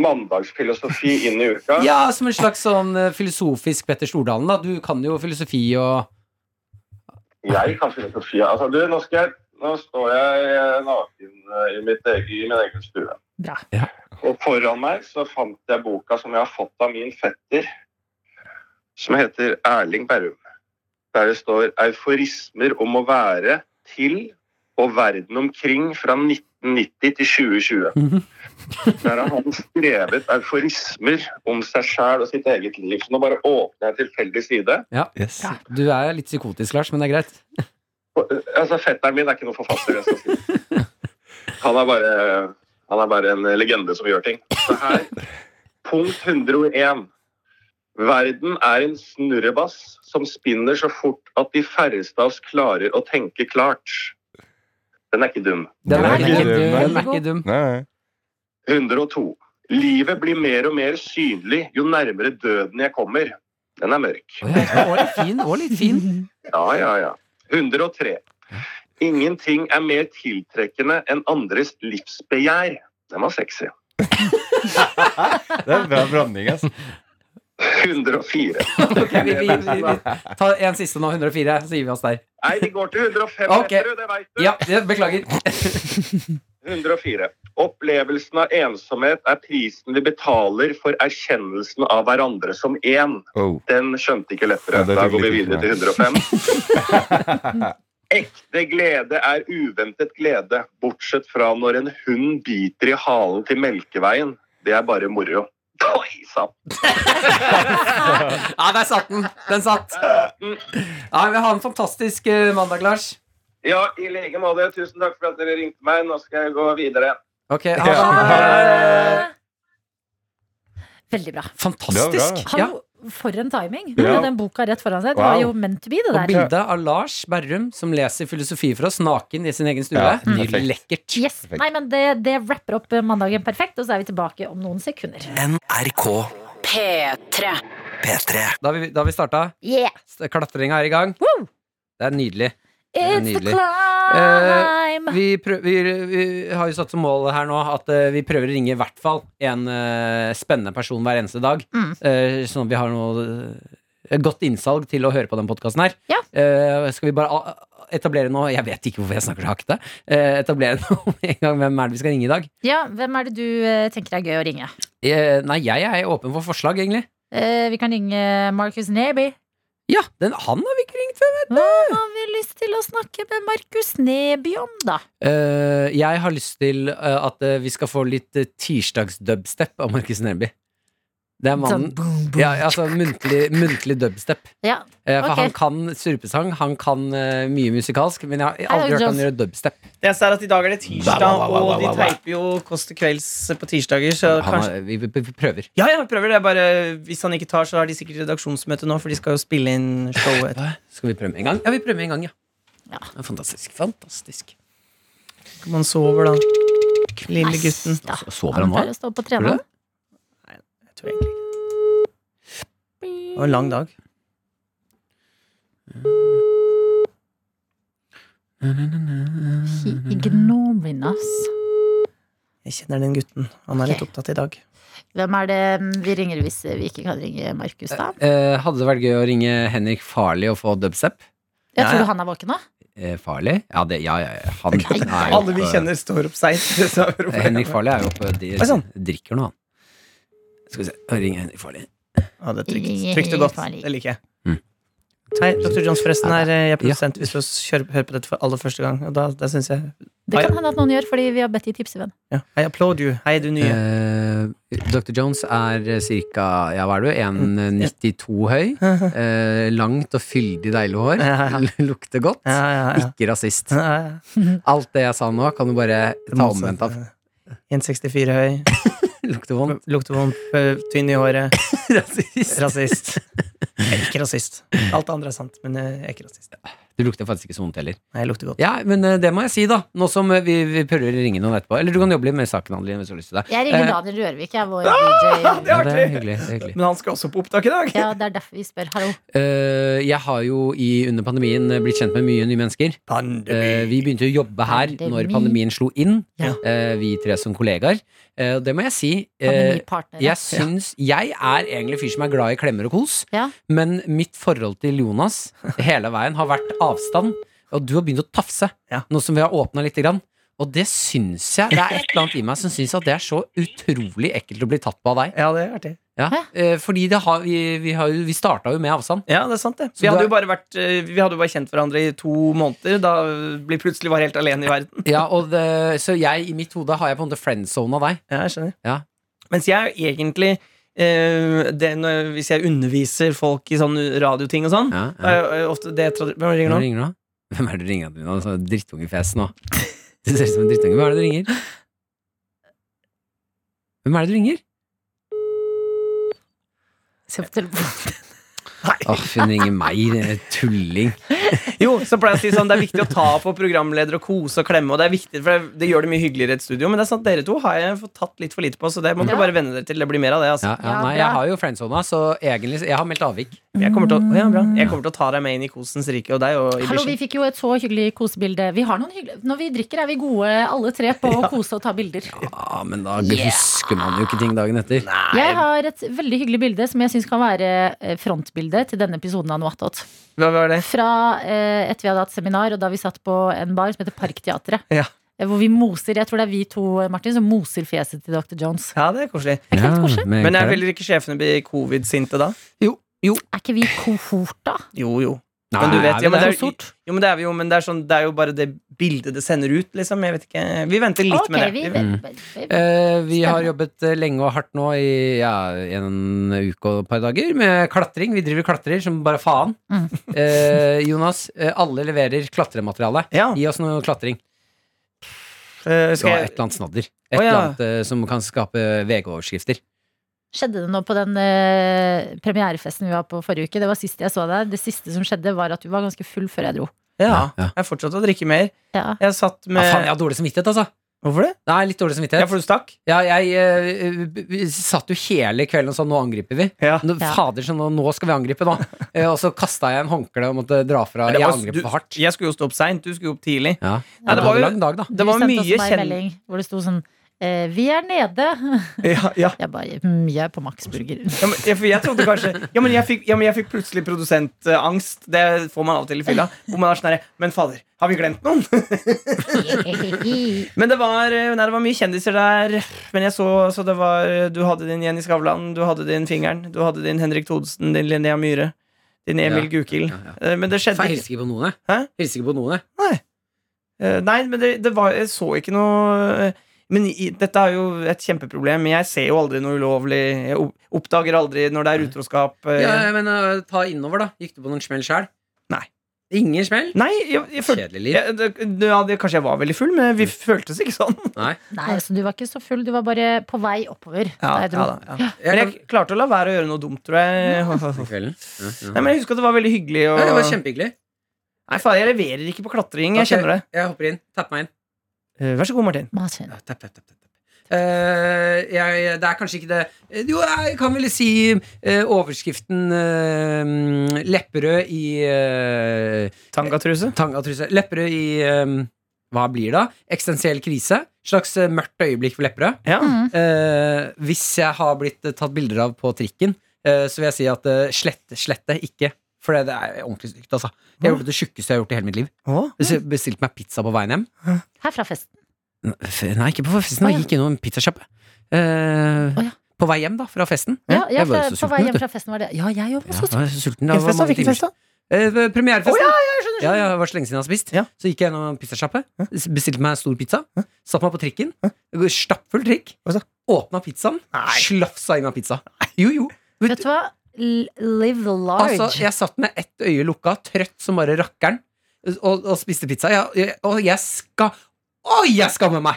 Mandagsfilosofi inn i uka.
Ja, som en slags sånn eh, filosofisk Petter Stordalen, da. Du kan jo filosofi og
Jeg kan filosofi. Altså, du, nå skal jeg Nå står jeg eh, naken eh, i, mitt eget, i min egen stue.
Bra.
Og foran meg så fant jeg boka som jeg har fått av min fetter, som heter Erling Berrum. Der det står 'Euforismer om å være til og verden omkring fra 1990 til 2020'.
Mhm.
Der har han skrevet euforismer om seg sjæl og sitt eget liv. Så nå bare åpner jeg en tilfeldig side.
Yes.
Ja.
Du er litt psykotisk, Lars, men det er greit.
Og, eh, Altså, Fetteren min er ikke noen forfatter. Jeg skal si. Han er bare han er bare en legende som gjør ting. Så her, punkt 101. Verden er en snurrebass som spinner så fort at de færreste av oss klarer å tenke klart. Den er ikke dum.
Den er ikke dum.
dum.
Den er ikke dum.
Nei, nei.
102. Livet blir mer og mer synlig jo nærmere døden jeg kommer. Den er mørk.
Å, ja, den var litt fin, og litt fin.
Ja, ja, ja. 103. Ingenting er mer tiltrekkende enn andres livsbegjær. Den var sexy.
Det er bra blanding, ass.
104.
Ok, vi, vi, vi, vi tar en siste nå, 104, så gir vi oss der.
Nei, de går til 105
Ok.
meter, det veit du.
Ja, ja, beklager.
104. Opplevelsen av ensomhet er prisen vi betaler for erkjennelsen av hverandre som én.
Oh.
Den skjønte ikke lettere.
Ja, det
da
fikk
går vi
litt
videre til 105. Ekte glede er uventet glede, bortsett fra når en hund biter i halen til Melkeveien. Det er bare moro. Oi sann!
Ja, der satt den. Den satt. Ja, vi har en fantastisk eh, mandag, Lars.
Ja, i like måte. Tusen takk for at dere ringte meg. Nå skal jeg gå videre.
Ok, ha
Ja.
det.
Veldig bra.
Fantastisk. Ja,
Hallo, for en timing!
Ja.
Med den boka rett foran seg. Det var
Wow.
jo meant to be, det
og
der.
bildet av Lars Berrum som leser filosofi for oss naken i sin egen stue.
Ja,
Nydelig.
perfekt.
Lekkert.
Yes. Nei, men det, det rapper opp eh, mandagen perfekt, og så er vi tilbake om noen sekunder.
Da har vi, da har vi starta.
Yeah!
Klatringa er i gang.
Woo!
Det er nydelig.
It's the
Nydelig. Eh,
climb!
Vi, prøv, vi, vi har jo satt som mål her nå at eh, vi prøver å ringe i hvert fall en eh, spennende person hver eneste dag.
Mm.
eh, sånn at vi har noe eh, godt innsalg til å høre på den podkasten her.
Ja.
Eh, skal vi bare a- a- etablere noe Jeg vet ikke hvorfor jeg snakker så hakkete. Eh, etablere noe med en gang hvem er det vi skal ringe i dag?
Ja, hvem er det du eh, tenker er gøy å ringe?
Eh, nei, jeg er åpen for forslag, egentlig.
Eh, vi kan ringe Marcus Neby.
Ja, den, han har vi ikke ringt før.
Hva har vi lyst til å snakke med Markus Neby om, da?
Eh, jeg har lyst til eh, at eh, vi skal få litt uh, tirsdags-dubstep av Markus Neby. Det er mannen
Sånn, boom, boom.
Ja, altså muntlig, muntlig dubstep.
Ja.
Eh, for
Ok.
han kan surpesang, han kan eh, mye musikalsk, men jeg har
Hello,
aldri hørt han
Jones.
gjøre dubstep.
Det eneste er at i dag er det tirsdag, og de teiper jo Kåss til kvelds på tirsdager. Så
Han
kanskje
har, vi, vi, vi prøver.
Ja, ja, vi prøver det. Bare hvis han ikke tar, så har de sikkert redaksjonsmøte nå, for de skal jo spille inn showet.
Skal vi prøve med en gang? Ja, vi prøver med en gang, ja.
Ja.
Det er Fantastisk. Fantastisk.
Kom, han sover, da. Lille gutten.
Æsj, da.
Så- Sover
Han
han nå?
pleier å stå
Tror
på
du
treneren.
det?
Jeg tror egentlig ikke Det var en lang dag.
He ignoring us.
Jeg kjenner den gutten. Han er litt
Ok.
opptatt i dag.
Hvem er det mm, vi ringer hvis eh, vi ikke kan ringe Markus, da?
Eh, hadde det vært gøy å ringe Henrik Farley og få dubstep?
Jeg
ja,
tror
ja.
han er våken nå.
Eh, Farley? Ja, det, ja, ja, ja. Han,
Nei,
er jo
Alle vi
oppe-
kjenner står opp seint. Det som er
Eh, Henrik
problemet.
Farley er jo oppe de,
Oi, sånn. sann.
Drikker nå, han. Skal vi se. Ring Henrik Farley.
Ja, det er trygt. trygt og godt. Det liker jeg.
Mm.
Hei, Dr. Jones, forresten her er eh, jeg er
Ja.
produsent hvis du kjører, hører på dette for aller første gang. Og da, da synes jeg
Det kan hende at noen gjør, fordi vi har bedt de tipse venn.
ja. I applaud you. Hei, du nye.
Eh, Dr. Jones er ca. ja, hva er du,
Mm.
1,92 høy. Eh, langt og fyldig deilig hår.
Ja, ja,
Lukter godt.
Ja, ja, ja.
Ikke rasist.
Ja, ja.
Alt det jeg sa nå, kan du bare
Det
ta
motsatte.
omvendt av.
1,64 høy,
Lukter vondt.
lukter vondt, øh, tynn i håret,
Rasist.
rasist. Jeg er ikke rasist. Alt det andre er sant, men jeg er ikke rasist.
Du lukter faktisk ikke så vondt heller.
Nei, jeg lukter godt.
Ja, men eh, det må jeg si, da. Nå som eh, vi, vi prøver å ringe noen etterpå. Eller du kan jobbe litt med saken, Adeline, hvis du har lyst til det.
Jeg
Eh.
ringer Daniel Rørvik, jeg er vår DJ.
Det er
Ja, det er
artig.
hyggelig. Det er hyggelig.
Men han skal også på opptak i dag.
Ja, det er derfor vi spør. Hallo.
Eh, jeg har jo i, under pandemien eh, blitt kjent med mye nye mennesker. Eh,
Pandemi.
vi begynte å jobbe her når
Pandemi.
pandemien slo inn,
Ja.
eh, vi tre som kollegaer. Eh, og det må jeg si. eh,
Pandemipartnere.
jeg syns Jeg er egentlig fyr som er glad i klemmer og kos,
Ja.
men mitt forhold til Jonas hele veien har vært avstand. Og du har begynt å tafse,
Ja.
nå som vi har åpna lite grann. Og det syns jeg. Det er et eller annet i meg som syns at det er så utrolig ekkelt å bli tatt på av deg.
Ja, det er artig.
Ja.
Hæ?
Eh, fordi det har, vi, vi, har jo, vi starta jo med avstand.
Ja, det er sant, det.
Så
Vi
du
hadde
er-
jo bare, vært, øh, vi hadde jo bare kjent hverandre i to måneder da vi plutselig var helt alene i verden.
Ja, og det, så jeg, i mitt hode, har jeg på en måte friendzona deg.
Ja, jeg skjønner.
Ja.
Mens jeg er jo egentlig øh, det, når, Hvis jeg underviser folk i sånn radioting og sånn,
Ja,
da er jo, øh, ofte det tradi- Hvem ringer
Hvem
nå?
ringer nå? Hvem er det du ringer til nå? Sånn Drittungefjes nå. Du ser ut som en drittunge. Hvem er det du ringer? Hvem er det du ringer?
Se på telefonen.
Åh, hun ringer meg, den tulling.
Jo, så pleier jeg å si sånn Det er viktig å ta på programleder og kose og klemme. Og Det er viktig, for det, det gjør det mye hyggeligere i et studio. Men det er sant, dere to har jeg fått tatt litt for lite på, så det må dere
Ja.
bare venne dere til. Det blir mer av det.
Ja,
altså
ja,
Ja,
nei,
bra.
jeg har jo friendzona, så egentlig Jeg har meldt avvik.
Jeg kommer til å, ja, bra. Jeg kommer til å ta deg med inn i kosens rike og deg og i
Hallo, vi
Bishen.
fikk jo et så hyggelig kosebilde. Vi har noen hyggelige Når vi drikker, er vi gode alle tre på å kose og ta bilder.
Ja, men da husker man jo ikke ting dagen etter.
Jeg har et veldig hyggelig bilde som jeg syns kan være eh, frontbildet til denne episoden av Noatot.
Hva var det?
Fra eh, etter vi hadde hatt seminar, og da vi satt på en bar som heter Parkteatret.
Ja.
Eh, Hvor vi moser, Jeg tror det er vi to, eh, Martin, som moser fjeset til dr. Jones.
Ja, det er koselig.
ikke helt koselig?
med
Men er
klem.
vel ikke sjefene blir covid-sinte da?
Er ikke vi kohorta?
Jo, jo.
Nei,
Men du vet,
er vi
ja, men det
der?
er, jo, men det er vi jo, men det er, sånn, det er jo bare det bildet det sender ut, liksom. Jeg vet ikke. Vi venter litt
Ok,
med det.
vi-
Vi-
Mm.
vi- vi-
Eh, vi har
Spennende.
jobbet eh, lenge og hardt nå i ja, en uke og et par dager med klatring. Vi driver og klatrer som bare faen. Eh, Jonas, eh, alle leverer klatremateriale.
Ja,
Gi oss noe klatring.
øh,
Skal
skal
Et
jeg
eller annet snadder. Et
Å, ja.
eller annet eh, som kan skape VG-overskrifter.
Skjedde det noe på den eh, premierefesten vi var på forrige uke? Det var sist jeg så deg. Det siste som skjedde, var at du var ganske full før jeg dro.
Ja.
Ja.
Jeg fortsatte å drikke mer.
Ja.
Jeg satt
Ja,
med
faen, jeg har dårlig samvittighet, altså.
Hvorfor det?
Nei, litt dårlig
Ja,
samvittighet.
for du stakk?
Ja, jeg eh, b- b- satt jo hele kvelden og sa 'nå angriper vi'.
Ja.
Nå,
Ja.
Fader, så nå, nå skal vi angripe, nå. Eh, og så kasta jeg en håndkle og måtte dra fra.
Men det
Jeg
var-
angrep
du-
for hardt.
Jeg skulle jo stå opp seint, du skulle jo opp tidlig.
Ja.
Nei, det var jo-
en lang dag, da.
Det var
du sendte
mye
oss meg en
kjenn-
melding hvor det sto sånn eh, Vi er nede.
Ja, ja.
Jeg bare mm, Jeg er på Max Burger.
Ja, men, jeg, for jeg trodde kanskje Ja, men jeg fikk, ja, men jeg fikk plutselig produsentangst. Det får man av og til i fylla. Hvor man er sånn herre Men fader, har vi glemt noen? Men det var, eh, nei, det var mye kjendiser der. Men jeg så, så det var eh, Du hadde din Jenny Skavlan, du hadde din Fingeren, du hadde din Henrik Thodesen, din Linnea Myhre, din Emil
Ja.
Gukild.
Ja, ja.
Eh, Men det skjedde
Faen, jeg
ikke.
hilser ikke på noen, jeg.
Hæ?
Hilser ikke på noen, jeg.
Eh, nei, men det, det var, jeg så ikke noe eh, Men i, dette er jo et kjempeproblem. Men jeg ser jo aldri noe ulovlig. Jeg opp- oppdager aldri når det er utroskap. eh.
Ja, men eh, ta innover, da. Gikk du på noen smell sjæl?
Nei.
Ingen smell?
Nei, jeg, jeg følte
Kjedelig Mm. liv.
jeg, det, det, ja, det, Kanskje jeg var veldig full, men vi føltes ikke sånn.
Nei.
Nei, så du var ikke så full. Du var bare på vei oppover. da jeg dro.
da, ja. Men jeg klarte å la være å gjøre noe dumt, tror jeg.
På kvelden. Ja, ja.
Nei, men jeg husker at det var veldig hyggelig. Og...
Nei, det var kjempehyggelig.
Nei, faen, jeg leverer ikke på klatring. Jeg
Ok,
kjenner det.
Jeg hopper inn. Tapp meg inn.
Eh, Vær så god, Martin.
Martin.
Ja, tapp, tapp, tapp, tapp. Eh, jeg, det er kanskje ikke det Eh, Jo, jeg kan vel si eh, overskriften eh, mm, Lepperød i eh,
Tangatruse.
eh, Tangatruse. Lepperød i eh, Hva blir det? da? Eksistensiell krise. slags eh, mørkt øyeblikk for Lepperød.
Ja.
Eh, hvis jeg har blitt eh, tatt bilder av på trikken, eh, så vil jeg si at eh, slett, slett det ikke. For det, det er ordentlig stygt, altså. Jeg gjorde det tjukkeste jeg har gjort i hele mitt liv.
Å?
Så jeg bestilte meg pizza på veien hjem.
Her fra festen.
F- Nei, ikke på festen.
Å, ja.
Jeg gikk innom en pizzasjappe. Eh,
Å, ja.
På vei hjem, da, fra festen.
Ja, ja,
Jeg var
fra,
jo så
på vei
sulten,
hjem
vet du.
fra festen var det. Ja, jeg òg var
Ja,
så
jeg var sulten. Det
Hvilken
var
fest da?
mange
Hvilken
timer
fest da?
siden. Eh, premierefesten.
Å, ja,
Ja, ja, det var så lenge siden jeg har spist.
Ja.
Så gikk jeg gjennom en pizzasjappe, bestilte meg en stor pizza, satte meg på trikken, stappfull trikk,
Hva så?
åpna pizzaen, slafsa i meg pizza. Jo, jo.
Vet du hva? L live large.
Altså, jeg satt med ett øye lukka, trøtt som bare rakkeren, og, og spiste pizza. Jeg, jeg, og jeg skal Å, jeg skammer meg!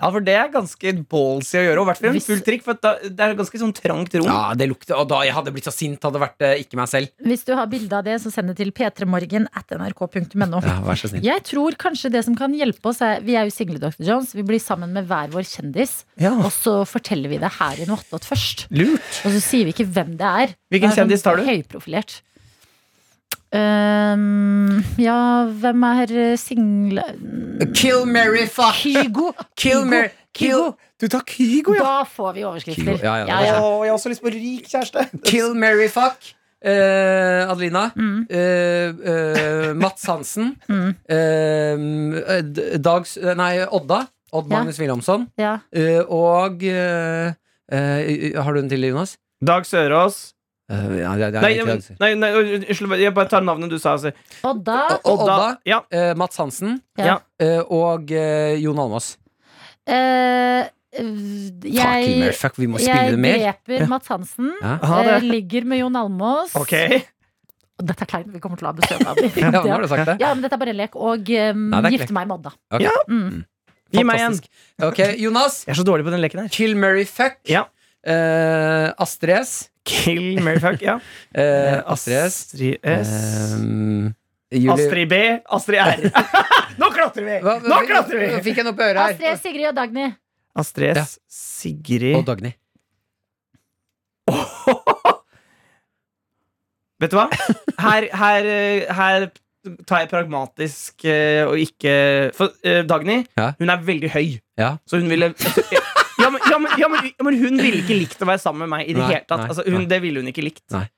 Ja, for det er ganske ballsy å gjøre. Og i hvert fall en
Hvis-
full trikk, for at da, det er ganske sånn trangt rom.
Ja, det lukter, Og da jeg hadde blitt så sint, hadde det vært eh, ikke meg selv.
Hvis du har bilde av det, så send det til p3morgen at nrk.no.
vær så snill.
Jeg tror kanskje det som kan hjelpe oss er, Vi er jo single, Dr. Jones. Vi blir sammen med hver vår kjendis.
Ja.
Og så forteller vi det her i Noattot først.
Lurt.
Og så sier vi ikke hvem det er. Det
Hvilken
er sånn
kjendis tar du?
Høyprofilert. Ehm, ja, hvem er eh, single
Kill Mary, fuck!
Kygo!
Kill Mary Kill,
Du tar Kygo, ja.
Da får vi overskrifter.
Kygo, ja, ja, det
ja,
er
ja.
Å, jeg har også lyst på rik kjæreste.
kill Mary, fuck! Eh, Adelina.
Mm.
Eh, eh, Mats Hansen.
Mm.
Eh, D- Dags Nei, Odda. Odd
Ja.
Magnus Wilhelmsson.
ja.
Eh, og eh, eh, Har du en til, Jonas?
Dag Sørås.
Eh, ja, det- det er
Nei,
ikke
nei,
Dag-
nei, nei, unnskyld. Jeg bare tar navnet du sa. Altså.
Og da
Og- Odda.
Ja.
Eh, Mats Hansen.
Ja.
Eh, og eh, Jon Almaas.
eh,
Fuck, Kill Mary,
Jeg,
fuck, vi må spille
jeg
det mer.
dreper Mats Hansen.
Ja.
Ha
eh,
det.
Ligger med Jon Almås.
Ok.
Og Dette er kleint, vi kommer til å ha besøk av
Ja, nå har
dem.
du sagt det.
Ja, men dette er bare lek. Og um,
Nei, det er ikke lek.
gifte meg med Odda.
Ok.
Ja.
Mm.
Gi meg en.
Fantastisk. Ok, Jonas.
Jeg er så dårlig på den leken her.
Kill Mary, fuck.
Ja.
Eh, Astrid S.
Kill Mary Fuck. Ja.
Eh, Astrid S.
Astrid S.
Eh, Julie-
Astrid B. Astrid R. Nå klatrer vi!
Hva-
Nå klatrer vi!
Fikk jeg noe på øret
Astrid,
her?
Sigrid og Dagny.
Astrid
Ja.
S. Sigrid
Og Dagny.
Vet du hva? Her, her, eh, her tar jeg pragmatisk eh, og ikke For eh, Dagny,
Ja.
hun er veldig høy.
Ja.
Så hun ville ja, men, ja, men, ja, men, ja, men hun ville ikke likt å være sammen med meg i det
Nei,
hele tatt.
nei,
Altså, hun,
nei.
det ville hun ikke likt.
Det vil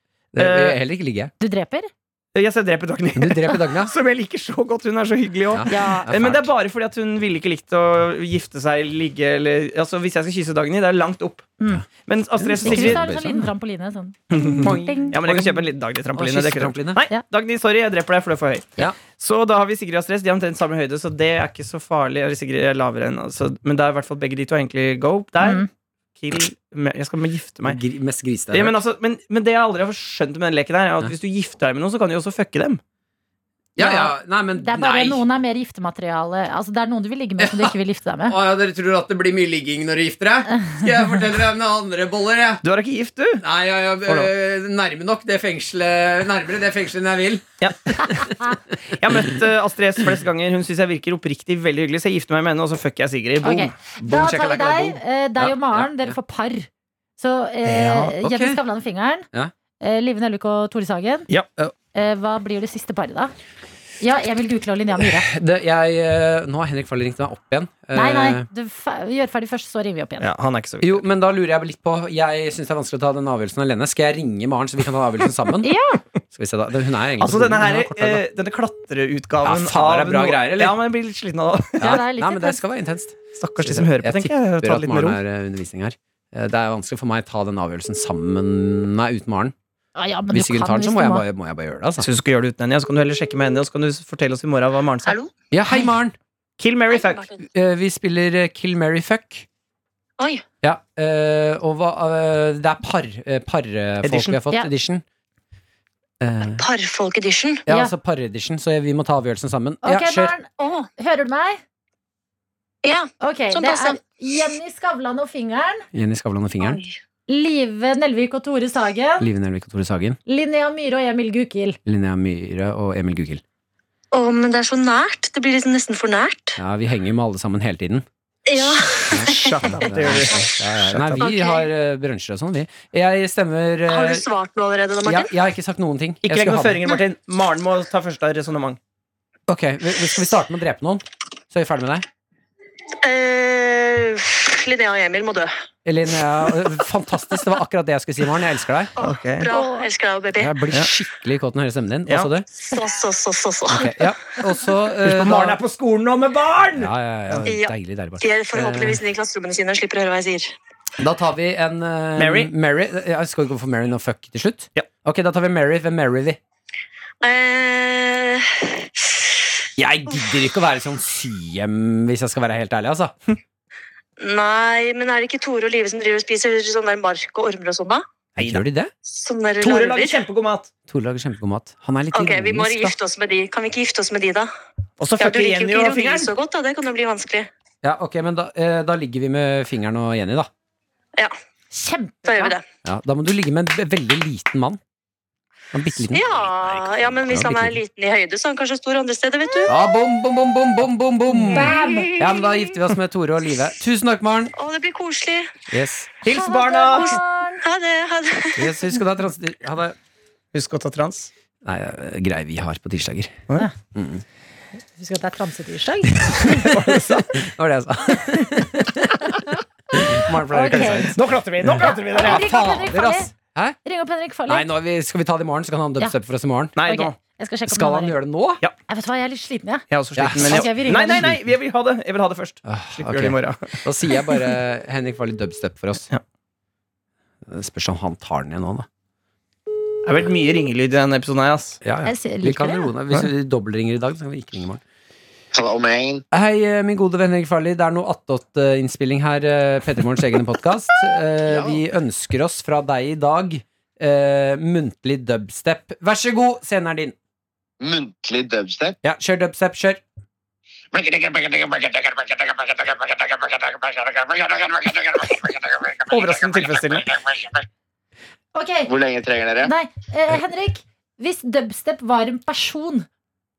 Eh,
heller ikke ligge.
Du dreper?
Jeg skal drepe Dagny.
Du dreper Dagny, ja.
Som jeg liker så godt. Hun er så hyggelig òg.
Ja.
Men det er bare fordi at hun ville ikke likt å gifte seg, ligge eller Altså, hvis jeg skal kysse Dagny, det er langt opp.
Mm.
Men Astrid S. og
Ikke hvis det
Sigrid
er en sånn liten trampoline. Sånn. Ding.
Ja, men jeg kan kjøpe en liten Dagny-trampoline.
Og
det er ikke noe
kyssetrampoline.
problem. Nei,
Ja.
Dagny, sorry, jeg dreper deg, for du er for høy.
Ja.
Så da har vi Sigrid og Astrid S. De er omtrent samme høyde, så det er ikke så farlig. Eller Sigrid er lavere enn altså. Men det er i hvert fall begge de to er egentlig go der.
Mm.
Kill med, Jeg skal med gifte meg.
Gri- Mest grisete. jeg
Ja,
har
men,
hørt.
altså, men, men det jeg aldri har skjønt med den leken, her er at
Ja.
hvis du gifter deg med noen, så kan du jo også fucke dem.
Ja, ja. Nei, men
Det er bare
nei.
noen er mer giftemateriale. Altså, det er noen du vil ligge med som du ikke vil gifte deg med.
Å ja, dere tror at det blir mye ligging når dere gifter deg? Skal jeg fortelle dere om noen andre boller, jeg?
Du er ikke gift, du!
Nei, jeg, jeg, øh, nærme nok det fengselet Nærmere det fengselet enn jeg vil.
Jeg har møtt eh, Astrid S flest ganger. Hun syns jeg virker oppriktig veldig hyggelig, så jeg gifter meg med henne, og så fucker jeg Sigrid. Boom.
Ok, Da tar vi
shakalaka,
deg, eh, deg
Ja,
og
ja,
Maren.
ja.
Dere får par. Så eh,
Ja,
ok.
Jenny Skavlan og Fingeren.
Ja.
Eh, Live Nelvik og Tore Sagen.
Ja.
Eh, hva blir det siste paret, da? Ja, Emil Dukle og Linnea Myhre.
Det, jeg, øh, nå har Henrik Farley ringt meg opp igjen.
Nei, nei,
Eh,
du fe- gjør ferdig først, så ringer vi opp igjen.
Ja, han er ikke så viktig.
Jo, men da lurer jeg litt på Jeg syns det er vanskelig å ta den avgjørelsen alene. Skal jeg ringe Maren, så vi kan ta avgjørelsen sammen? Skal vi se da. Hun er egentlig
Altså
så god.
denne, her,
Hun er kort her, da.
eh, denne klatreutgaven
Ja, faen, det er bra
noe-
greier, eller?
Ja, men jeg blir litt sliten av det.
Ja, det er litt
Nei, men det
intenst.
skal være intenst.
Stakkars de som hører på, tenker
tipper at
jeg. Ta det litt med ro.
Maren er eh, undervisning her. Eh, Det er vanskelig for meg å ta den avgjørelsen sammen Nei, uten Maren.
Ah, ja, men
Hvis
du
ikke hun
kan
tar den, så
hvis
må
du
jeg
må.
bare, må jeg bare gjøre det.
Jeg
Altså.
synes du skal gjøre det uten henne, og så kan du heller sjekke med henne, og så kan du fortelle oss i morgen hva Maren sa.
Hallo?
Ja, hei, Maren.
Kill Mary Fuck.
Eh, Vi spiller eh, Kill Mary Fuck.
Oi.
Ja, eh, og hva, eh, det er par, eh, parfolk
Edition.
vi har fått.
Ja.
Edition. Eh,
Parfolk edition.
ja,
Ja.
altså paredition, så vi må ta avgjørelsen sammen.
Ok,
ja, kjør.
Maren,
Å,
hører du meg?
ja.
Ok,
Sånn
det
passe.
er Jenny Skavlan og Fingeren,
Jenny Skavlan og Fingeren.
Oi.
Live Nelvik og Tore Sagen,
Live Nelvik og Tore Sagen.
Linnea Myhre og Emil Gukild.
Linnea Myhre og Emil Gukild.
Å, men det er så nært. Det blir liksom nesten for nært.
Ja, vi henger med alle sammen hele tiden.
Ja.
Shut up, det gjør vi.
Ja, ja, ja. Nei, vi
Ok.
har eh, brunsjer og sånn, vi. Jeg stemmer eh,
Har du svart noe allerede da,
jeg,
Martin?
jeg har ikke sagt noen ting. Jeg
Ikke
skulle
legg noen
ha det.
føringer, Martin. Maren må ta første resonnement.
Ok, vi- vi- Skal vi starte med å drepe noen? Så er vi ferdig med deg?
Eh, Linnea og Emil må dø.
Linnea, fantastisk. Det var akkurat det jeg skulle si, Maren. Jeg elsker deg.
Ok.
Bra. Elsker deg, baby.
Jeg blir
Ja.
skikkelig kåt når jeg hører stemmen din. Hva
Ja.
sa du?
Så, så, så, så, så.
Ok, ja. Og så eh,
Husk på, Maren
da-
er på skolen nå med barn!
ja, ja, ja,
Ja.
Deilig, deilig.
De
Bare.
er forhåpentligvis inne i klasserommene sine og slipper å høre hva jeg sier.
Da tar vi en eh,
Mary.
Mary. Ja, skal vi gå for Mary og fuck til slutt?
Ja.
Ok, da tar vi Mary. Hvem Mary vi?
Eh,
Jeg gidder ikke å være sånn syhjem, hvis jeg skal være helt ærlig, altså.
nei, men er det ikke Tore og Live som driver og spiser sånn der mark og ormer og sånn, da?
Jeg gjør de det?
Sånne der
Tore lager
larver?
kjempegod mat.
Tore lager kjempegod mat. Han er litt
Ok, vi må
ironisk, da.
gifte oss med de. Kan vi ikke gifte oss med de, da?
Og så
Ja, du
fucker
liker
Jenny
jo
og
ikke ironi
fingeren.
så godt, da. Det kan jo bli vanskelig.
Ja, ok, men da, eh, da ligger vi med fingeren og Jenny, da.
Da gjør vi
Kjempebra.
det.
Ja, da må du ligge med en ve- veldig liten mann. En bitte liten.
Ja, ja, men hvis
Ja,
han
bitte
er liten i høyde, så er han kanskje stor andre steder, vet du.
Ja, bom, bom, bom, bom, bom, bom, bom.
Bam!
Ja, men da gifter vi oss med Tore og Live. Tusen takk, Maren.
Å, det blir koselig.
Yes.
Hils barna!
Ha det. Ha det.
yes husk å ta transitt. Ha det.
Husk å ta trans.
Nei, eh, greier vi har på tirsdager.
Husk at det er transetirsdag.
Det var det jeg sa. Maren pleier å
Ok.
klemme seg ut.
Nå klatrer vi! Nå klatrer vi dere!
Ja,
Henrik Farley.
fader, ass. Hæ?
Ring opp Henrik Farley.
Nei, nå er vi, skal vi ta det i morgen, så kan han dubstep for oss i morgen.
Nei,
Ok,
nå.
Jeg skal sjekke om
Skal han
er-
gjøre det nå?
Jeg vet hva, jeg er litt sliten, jeg.
Jeg er også sliten,
Ja.
men
Ok, vi
jeg...
ringer
Nei, nei,
den.
nei, jeg vil ha det, jeg vil ha det først.
Ah,
Slipp å
ok.
gjøre det i morgen.
Da sier jeg bare Henrik var litt dubstep for oss.
Ja.
Det Spørs om han tar den igjen nå, da.
Det har vært mye ringelyd i denne episoden her, ass.
Ja, ja.
Jeg sier-
Vi
liker
kan
det,
roe ned. Hvis vi dobbeltringer i dag, så kan vi ikke ringe i morgen.
Hello, man.
Hei, eh, min gode venn Henrik Farley. Det er noe attåt-innspilling her. eh, Petter Morgens egne podkast. Vi ønsker oss fra deg i dag eh, muntlig dubstep. Vær så god, scenen er din.
Muntlig dubstep.
Ja, kjør dubstep, kjør.
Overraskende tilfredsstillende.
Ok,
Hvor lenge trenger dere?
nei, eh, Henrik. Hvis dubstep var en person,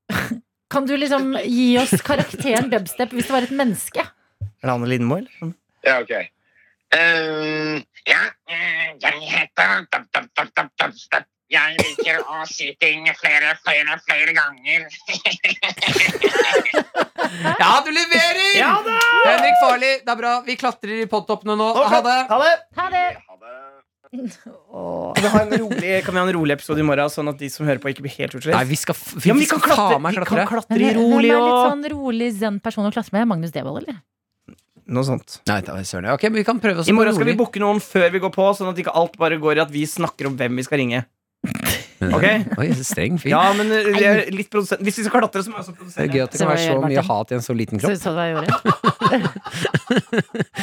kan du liksom gi oss karakteren dubstep hvis det var et menneske?
Er det Anne Lindmo, eller?
Ja, ok. Ehm, ja, mm, jeg heter dub, dub, dub, dub, dubstep. Jeg liker å si ting flere, flere, flere ganger.
Ja, du leverer!
Ja da!
Henrik Farley, det er bra. Vi klatrer i podtoppene nå.
Nå
Ha
klat-
det.
Ha det!
Ha det!
Ha det.
Åh.
Kan vi ha en rolig, kan vi ha en rolig episode i morgen, sånn at de som hører på, ikke blir helt utslitt?
Nei, vi skal, f- vi
ja, men vi
skal
kan klatre,
faen meg
vi
klatre.
kan
Men
klatre
hvem hvem er
rolig
litt
og
sånn rolig zen person å klatre med? Magnus Devold, eller?
Noe sånt.
Nei, da, søren. Ok, men vi kan prøve oss
I morgen skal
rolig.
vi booke noen før vi går på, sånn at ikke alt bare går i at vi snakker om hvem vi skal ringe. Ok?
Oi, så streng fyr.
Ja, men eh, jeg er litt produsent Hvis vi skal klatre, så må jeg også
Det er
produsere.
gøy at det kan
Så
være så
gjør
mye
Martin.
hat i en så liten
Så,
kropp.
så du hva jeg gjorde?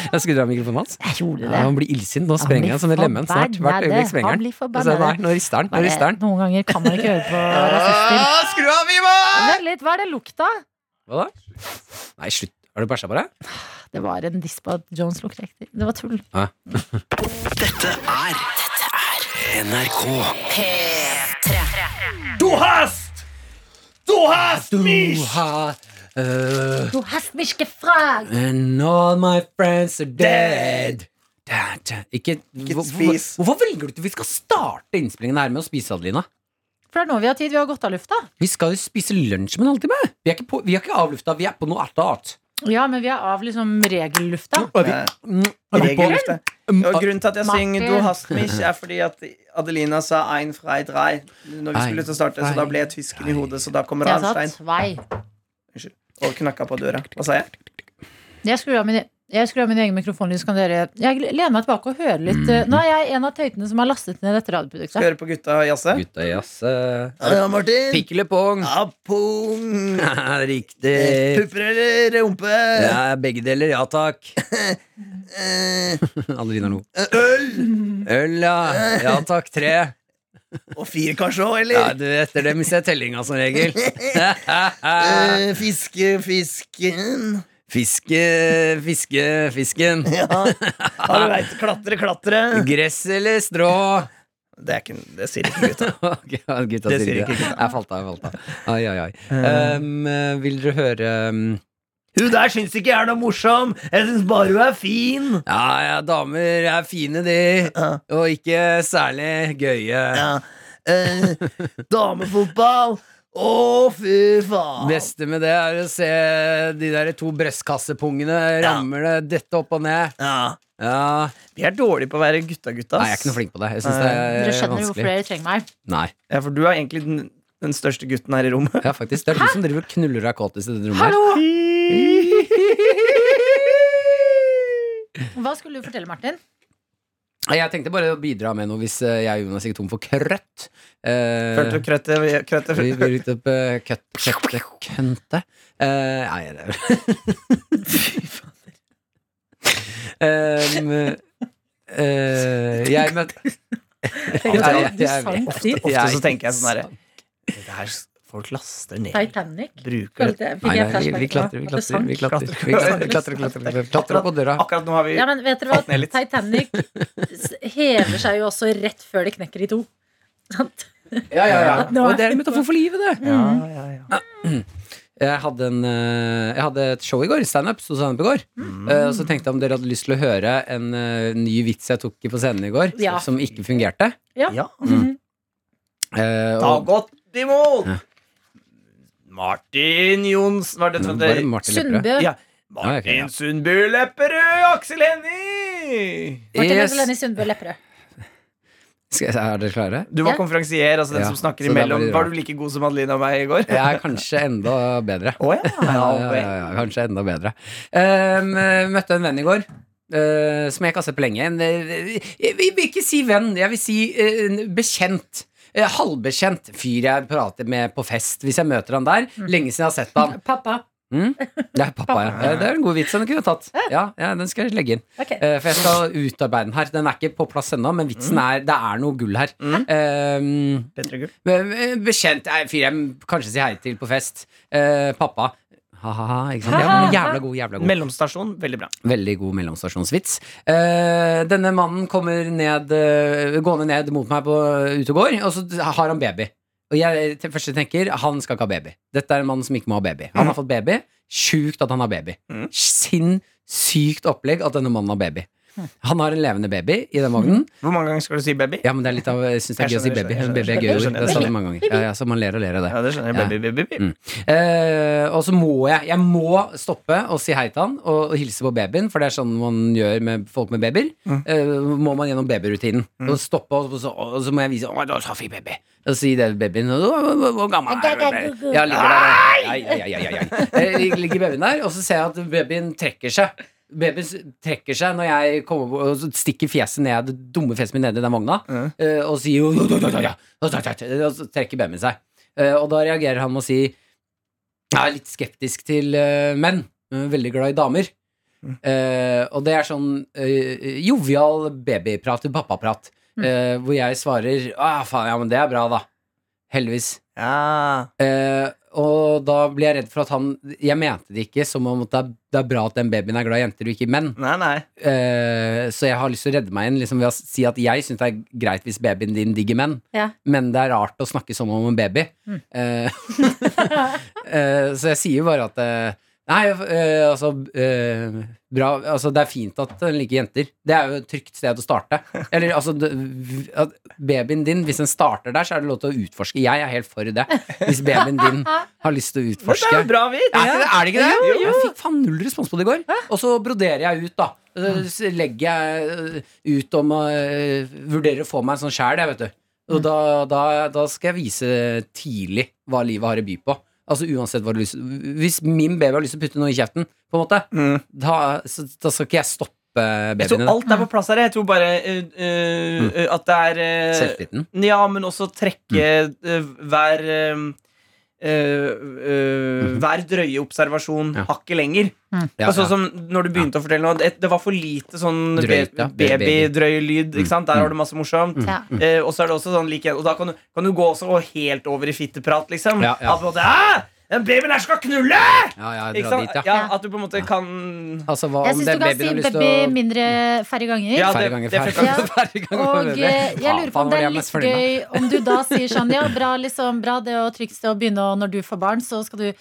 Jeg skulle dra mikrofonen hans.
Jeg gjorde
Ja,
det.
han blir illsint. Nå sprenger han sånn som et lemen snart. Hvert øyeblikk sprenger han.
Han blir
Se der,
forbannet.
nå rister han. Nå
Bare-
rister han.
Noen ganger kan man ikke høre på rasister.
Ah, Skru av, Ivar!
Vent litt, hva er det lukta?
Hva da? Nei, slutt. Har du bæsja på deg?
Det var en diss på at Jones lukter riktig. Det var tull.
Du hast! Du hast mich!
har uh,
Du hast mich gefragt!
And all my friends are dead. Da, da. Ikke, hvor-
spis.
Hvorfor, hvorfor velger du ikke Vi skal starte innspillingen her med å spise, Adelina.
For det er nå vi har tid. Vi har gått av lufta.
Vi skal jo spise lunsj om en halvtime. Vi er ikke, på, vi er ikke avlufta, vi er på noe ertat.
Ja, men vi er av liksom regellufta.
Eh,
Mm,
regellufte. Og grunnen til at jeg
Martin.
synger Du hast mich, er fordi at Adelina sa ein frei drei når vi
Ein,
skulle til å starte, så da ble jeg tysken i hodet, så da kommer
Jeg sa
Arnstein
tvei.
og knakka på døra. Hva sa jeg?
Jeg skrur av min, e- jeg skrur av min egen mikrofonlyd, så kan dere Jeg lener meg tilbake og hører litt. eh, Nå er jeg en av tøytene som har lastet ned dette radioproduktet.
Hører på gutta og jazze?
Gutta jasse.
Ja, Martin.
Pikkelepong.
Ja, pung.
Riktig.
Eh, Pupper eller rumpe?
Eh, Ja, begge deler, ja takk. Adelina lo.
Eh, Øl?
Øl, ja. Ja takk, tre.
Og fire kanskje òg,
Ja, du, etter det mister jeg tellinga som regel.
Eh, fiske, fisken
Fiske, fiske, fisken.
Ja. ja du veit. Klatre, klatre.
Gress eller strå?
Det, er ikke, det sier ikke gutta.
Ok, ja, Gutta
Det
sier
sier
ikke det.
ikke
Jeg falt av, jeg falt av. Ai, ai, ai. Um, eh, vil dere høre um,
Hun der syns ikke jeg er noe morsom. Jeg syns bare hun er fin.
Ja, ja, damer er fine, de.
Ja.
Og ikke særlig gøye.
Ja. Eh, damefotball
Å, fy faen!
Beste med det er å se de der to brystkassepungene ramle dette opp og ned.
Ja.
Ja.
Vi er dårlige på å være gutta-gutta.
Nei, jeg er ikke noe flink på det. Jeg syns det
Dere
er
skjønner jo hvorfor
vanskelig.
dere trenger meg.
Nei.
Ja, for du er egentlig den, den største gutten her i rommet.
Ja, faktisk. Det er du som driver og knuller deg kåtis i dette rommet. her.
Hallo! Hva skulle du fortelle, Martin?
Nei, Jeg tenkte bare å bidra med noe hvis eh, jeg og Jonas gikk tom for krøtt. Eh,
Følte du krøttet? krøttet-
vi bryter opp eh, køtt, køtte, kønte. Eh, nei, det er Fy fader. Ehm, eh, jeg møtte jeg,
Du sang sitt.
Ofte så tenker jeg sånn herre
Det her, folk laster ned.
Titanic.
Bruker det.
Følte
Nei,
jeg- Fikk
nei,
jeg
vi, vi
flashback på
klatrer, vi klatrer. Vi klatrer, vi
at det sank.
klatrer, klatrer, klatrer, klatrer, klatrer opp på døra.
Akkurat nå har vi
Ja, men vet dere hva?
Falt ned litt.
Titanic s- hever seg jo også rett før det knekker i to. Sant?
Ja, ja, ja.
Nå er-
Og det er en metafor for livet, det.
ja, ja, ja.
Jeg hadde, en, eh, jeg hadde et show i går, standup. sto standup i går. Eh, og så tenkte jeg om dere hadde lyst til å høre en eh, ny vits jeg tok i på scenen i går,
Ja.
som ikke fungerte.
Ja.
Mm. Eh,
Ta
og,
godt imot! Martin Jons Var det
Nå
sånn
Mm, var det
det
Martin Lepperød.
Sundbø.
Ja.
Ja, ok, ja.
Martin Sundby Lepperød, Aksel Hennie!
Martin
Yes.
Lennie Sundbø Lepperød.
Skal jeg- Er dere klare?
Du var
Ja.
konferansier, altså den
Ja,
som
så
snakker
det
imellom.
var litt
Var
rart.
du like god som Adelina og meg i går?
Jeg er kanskje enda bedre.
Å ja.
Ja, ja, ja, ja, kanskje enda bedre. Ehm, eh, møtte en venn i går. eh, som jeg ikke har sett på lenge. En, eh, jeg vil ikke si venn, jeg vil si eh, en bekjent. Eh, halvbekjent fyr jeg prater med på fest, hvis jeg møter han der. Lenge siden jeg har sett han.
Pappa.
Mm? Det er pappa, ja. Eh, Det er en god vits han kunne tatt. Ja, ja, den skal jeg legge inn.
Ok.
Eh, For jeg skal utarbeide den her. Den er ikke på plass ennå, men vitsen er det er noe gull her. Ehm,
Petre Gull.
be- eh, bekjent er en fyr jeg kanskje sier hei til på fest. Eh, pappa. Ha-ha, ikke sant? Ja, men jævla god, jævla god.
Mellomstasjon, veldig bra.
Veldig god mellomstasjonsvits. Eh, denne mannen kommer ned, eh, gående ned mot meg på ute og går, og så har han baby. Og jeg til første tenker han skal ikke ha baby. Dette er en mann som ikke må ha baby. Han
Mm.
har fått baby. Sjukt at han har baby.
Mhm.
Sinnssykt opplegg at denne mannen har baby.
Hm.
Han har en levende baby i den vognen.
Hvor mange ganger skal du si baby?
Ja, men det er litt av, jeg syns det er gøy å si
Mm. Jeg skjønner,
baby.
jeg skjønner,
Baby er
jeg
gøy ord.
skjønner,
Det
jeg
sa de mange ganger. Ja, ja, så man ler og ler av det.
Ja, det skjønner jeg.
Ja.
Baby, baby, baby.
Eh, og så må jeg Jeg må stoppe og si hei til han og, og hilse på babyen, for det er sånn man gjør med folk med babyer. Eh, må man gjennom babyrutinen. Og stoppe, og så, og så må jeg vise Å, da sa vi baby. Og så sier det babyen «Å, å, å, Hvor gammel er babyen? Ja, ligger der. og- Ai, ai, ai, ai, ai. Eh, Ligger babyen der, og så ser jeg at babyen trekker seg. Babyen s- trekker seg når jeg kommer på, og så stikker fjeset ned, det dumme fjeset mitt ned i den vogna, eh, og sier «Å, da, da, da, da, da, da, da», Og så trekker babyen seg. Eh, Og da reagerer han med å si jeg er litt skeptisk til eh, menn. men Veldig glad i damer. Eh, og det er sånn eh, jovial babyprat, pappaprat, eh, hvor jeg svarer ah, faen, ja, men det er bra, da. Heldigvis.
Ja.
Eh, og da blir jeg redd for at han Jeg mente det ikke som om at det er, det er bra at den babyen er glad i jenter og ikke i menn.
Nei, nei.
Eh, så jeg har lyst til å redde meg inn liksom, ved å si at jeg syns det er greit hvis babyen din digger menn,
Ja.
men det er rart å snakke sånn om en baby. Eh, eh, så jeg sier jo bare at eh, Nei, eh, altså eh, Bra Altså, det er fint at den liker jenter. Det er jo et trygt sted å starte. Eller altså det- v- at Babyen din, hvis den starter der, så er det lov til å utforske. Jeg er helt for det. Hvis babyen din har lyst til å
Men det
utforske.
er jo bra vits!
Er, det- er det ikke det?
Jo, jo.
Jeg fikk faen null respons på det i går. Og så broderer jeg ut, da.
Mm.
Så legger jeg eh, ut om å eh, vurdere å få meg en sånn sjæl, jeg, vet du.
Mm.
Og da, da, da skal jeg vise tidlig hva livet har å by på. Altså uansett hva du har lyst Hvis min baby har lyst til å putte noe i kjeften, på en måte,
Mm.
da, så, da skal ikke jeg Mm. stoppe
Jeg tror
babyene. da.
alt er på plass her. Jeg tror bare eh, eh, eh, at det er eh,
Selvtilliten.
Ja, men også trekke
Mm.
eh, hver eh, eh, eh, Hver drøye observasjon
Mm. Ja.
hakket lenger.
Ja,
altså
ja.
som når du begynte å fortelle noe Det, det var for lite sånn
Drøyt, ja.
be- babydrøy lyd.
Mm.
Ikke sant? Der har du masse morsomt.
Ja.
Eh, og så er det også sånn like, Og da kan du, kan du gå også helt over i fitteprat, liksom.
Ja, ja.
At på en måte, «Hæ? Den babyen her skal knulle!
ja, ja,
Ikke
dra
sant?
dit, ja.
Ja, at du på en måte kan
Altså, hva
Jeg
om
syns
den
du kan si
babyen har lyst til å
baby mindre færre ganger.
Ja,
Færre
det-
ganger,
det
færre
funker.
ganger. Færre ganger.
Og
færre
eh,
ganger.
jeg lurer
Faen,
på
var
om det er
jeg mest
litt
fornøyd med?
gøy om du da sier sånn Ja, bra, liksom, bra det og trygt sted å begynne, og når du får barn, så skal du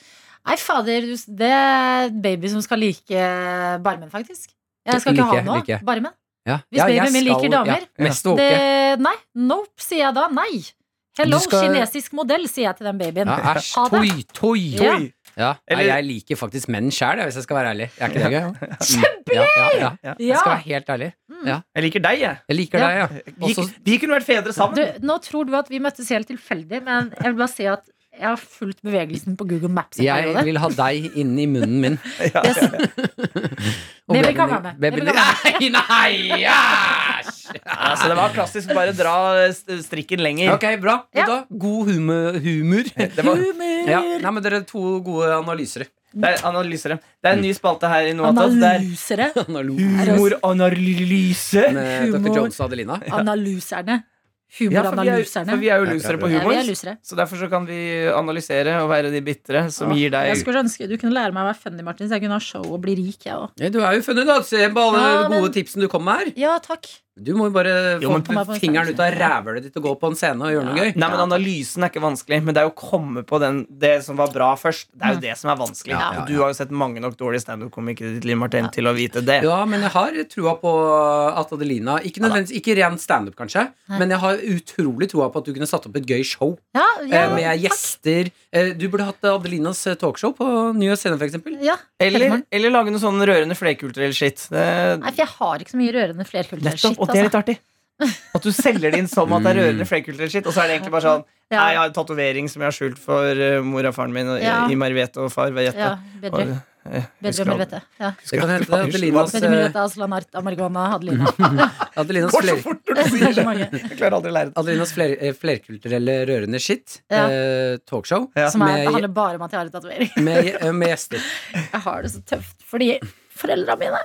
Nei, fader, du- det er baby som skal like barmen, faktisk. Jeg skal ikke
Like,
ha noe.
like.
Barmen.
Ja.
Hvis
Ja, jeg
babyen min
skal-
liker damer,
ja, Mest å åke.
Det, nei, nope, sier jeg da. Nei. Hello,
Du skal-
kinesisk modell, sier jeg til den babyen.
Ja, æsj.
Ha det.
Toi, toi.
Ja.
Ja. Nei,
Eller-
jeg liker faktisk menn sjæl, hvis jeg skal være ærlig. Er ikke det gøy? Ja,
Kjempegøy!
ja, ja. Jeg skal
Ja. Mm.
være helt ærlig.
Jeg liker deg, jeg.
Jeg liker
Ja.
deg, ja.
Vi,
Også-
vi kunne vært fedre sammen.
Du, nå tror du at vi møttes helt tilfeldig, men jeg vil bare si at jeg har fulgt bevegelsen på Google Maps. i en
Jeg
periode.
vil ha deg inn i munnen min.
Yes.
Og
Baby
babyen
kan
din-
være med.
babyen
Baby kan
din- Nei, nei, æsj!
Altså, det var klassisk bare dra eh, st- strikken lenger.
Ok, bra. Vet du hva? God humor. humor.
Eh, Det, var,
Ja. Nei, men dere er to gode analysere.
det er analysere. Det er en ny spalte her i Noatas. Det er
Analysere.
humoranalyse.
Med Dr.
Humor.
Jones og Adelina.
Analyserne.
Ja, for vi, er,
Humoranalyserne.
for vi er jo
Det er
lusere
bra,
på
bra.
Ja,
humor.
vi er lusere.
Så derfor så kan vi analysere og være de bitre som
Åh,
gir
Jeg
deg
skulle ønske du kunne lære meg å være funny, Martin, så jeg kunne ha show og bli rik, jeg òg.
Ja, Du er jo funnet, da. Se på alle
Ja, men-
gode tipsene du kom med her.
Ja, takk.
Du må jo bare
Jo,
få
men-
Kom her på en
fingeren
scene.
ut av rævhølet ditt og gå på en scene og gjøre noe gøy.
Nei, men Analysen er ikke vanskelig, men det er jo å komme på den, det som var bra først. Det er jo det som er vanskelig.
Ja, ja,
Og Du har jo sett mange nok dårlige standup-komikere i ditt liv, Martin, til å vite det.
Ja, men jeg har trua på at Adelina Ikke nødvendigvis, ikke ren standup, kanskje,
Nei.
men jeg har utrolig trua på at du kunne satt opp et gøy show
Ja, ja,
eh, med gjester. Eh, Du burde hatt Adelinas eh, talkshow på Nye Scene, f.eks.
ja.
Eller,
Hellemann.
eller lage noe sånn rørende flerkulturell shit. Det,
Nei, for jeg har ikke så mye rørende flerkulturell
nettopp,
shit.
og det er litt
Altså.
artig. At du selger det inn som at det er rørende flerkulturell shit, og så er det egentlig bare sånn Nei, jeg
Ja,
har en tatovering som jeg har skjult for eh, mor og faren min, og,
Ja.
i Marvete og eh, far Verjette.
ja, bedre. Bedre helvete. Ja.
Det kan hende Adelinas,
Bedre
eh,
helvete, altså, Aslan Art, Amargona, Hadelina.
Adelinas,
Går så
fler,
fort når du
Det er
sier
så
det!
mange.
Jeg klarer aldri å lære det.
Adelinas fler, eh, flerkulturelle rørende shit
Ja.
eh, talkshow
Ja.
Som er, det
med,
handler bare om at jeg har en tatovering.
med, eh, med gjester.
Jeg har det så tøft fordi foreldra mine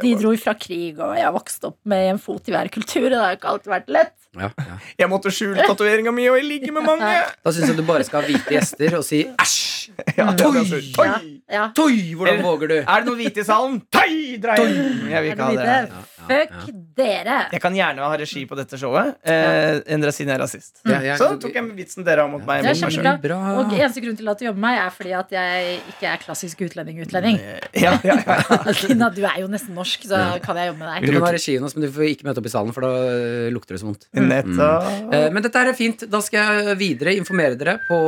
De dro fra krig, og jeg vokste opp med en fot i hver kultur. og Det har jo ikke alltid vært lett.
Ja, ja.
Jeg måtte skjule tatoveringa mi, og jeg ligger med mange!
Da syns jeg du bare skal ha hvite gjester og si æsj!
Ja,
Mm.
det er
Oi!
absurd. Oi!
Ja,
Toi, hvordan våger du?
Er det noen hvite i salen? Tøy! Dra hjem! Jeg vil
er
ikke
det
ha det
lite?
her.
Fuck dere!
Jeg kan gjerne ha regi på dette showet, eh, endre siden jeg er rasist.
Ja, ja,
Så tok jeg vitsen dere har mot meg.
Det er
mot meg
kjempebra.
selv.
Bra.
Og eneste grunn til at du jobber med meg, er fordi at jeg ikke er klassisk utlending-utlending.
Ja, ja, ja.
Adelina, du er jo nesten norsk, så kan jeg jobbe med
Du
deg.
kan ha regien også, men du får ikke møte opp i salen, for da øh, lukter det så vondt.
Nettopp.
Eh, Men dette her er fint. Da skal jeg videre informere dere på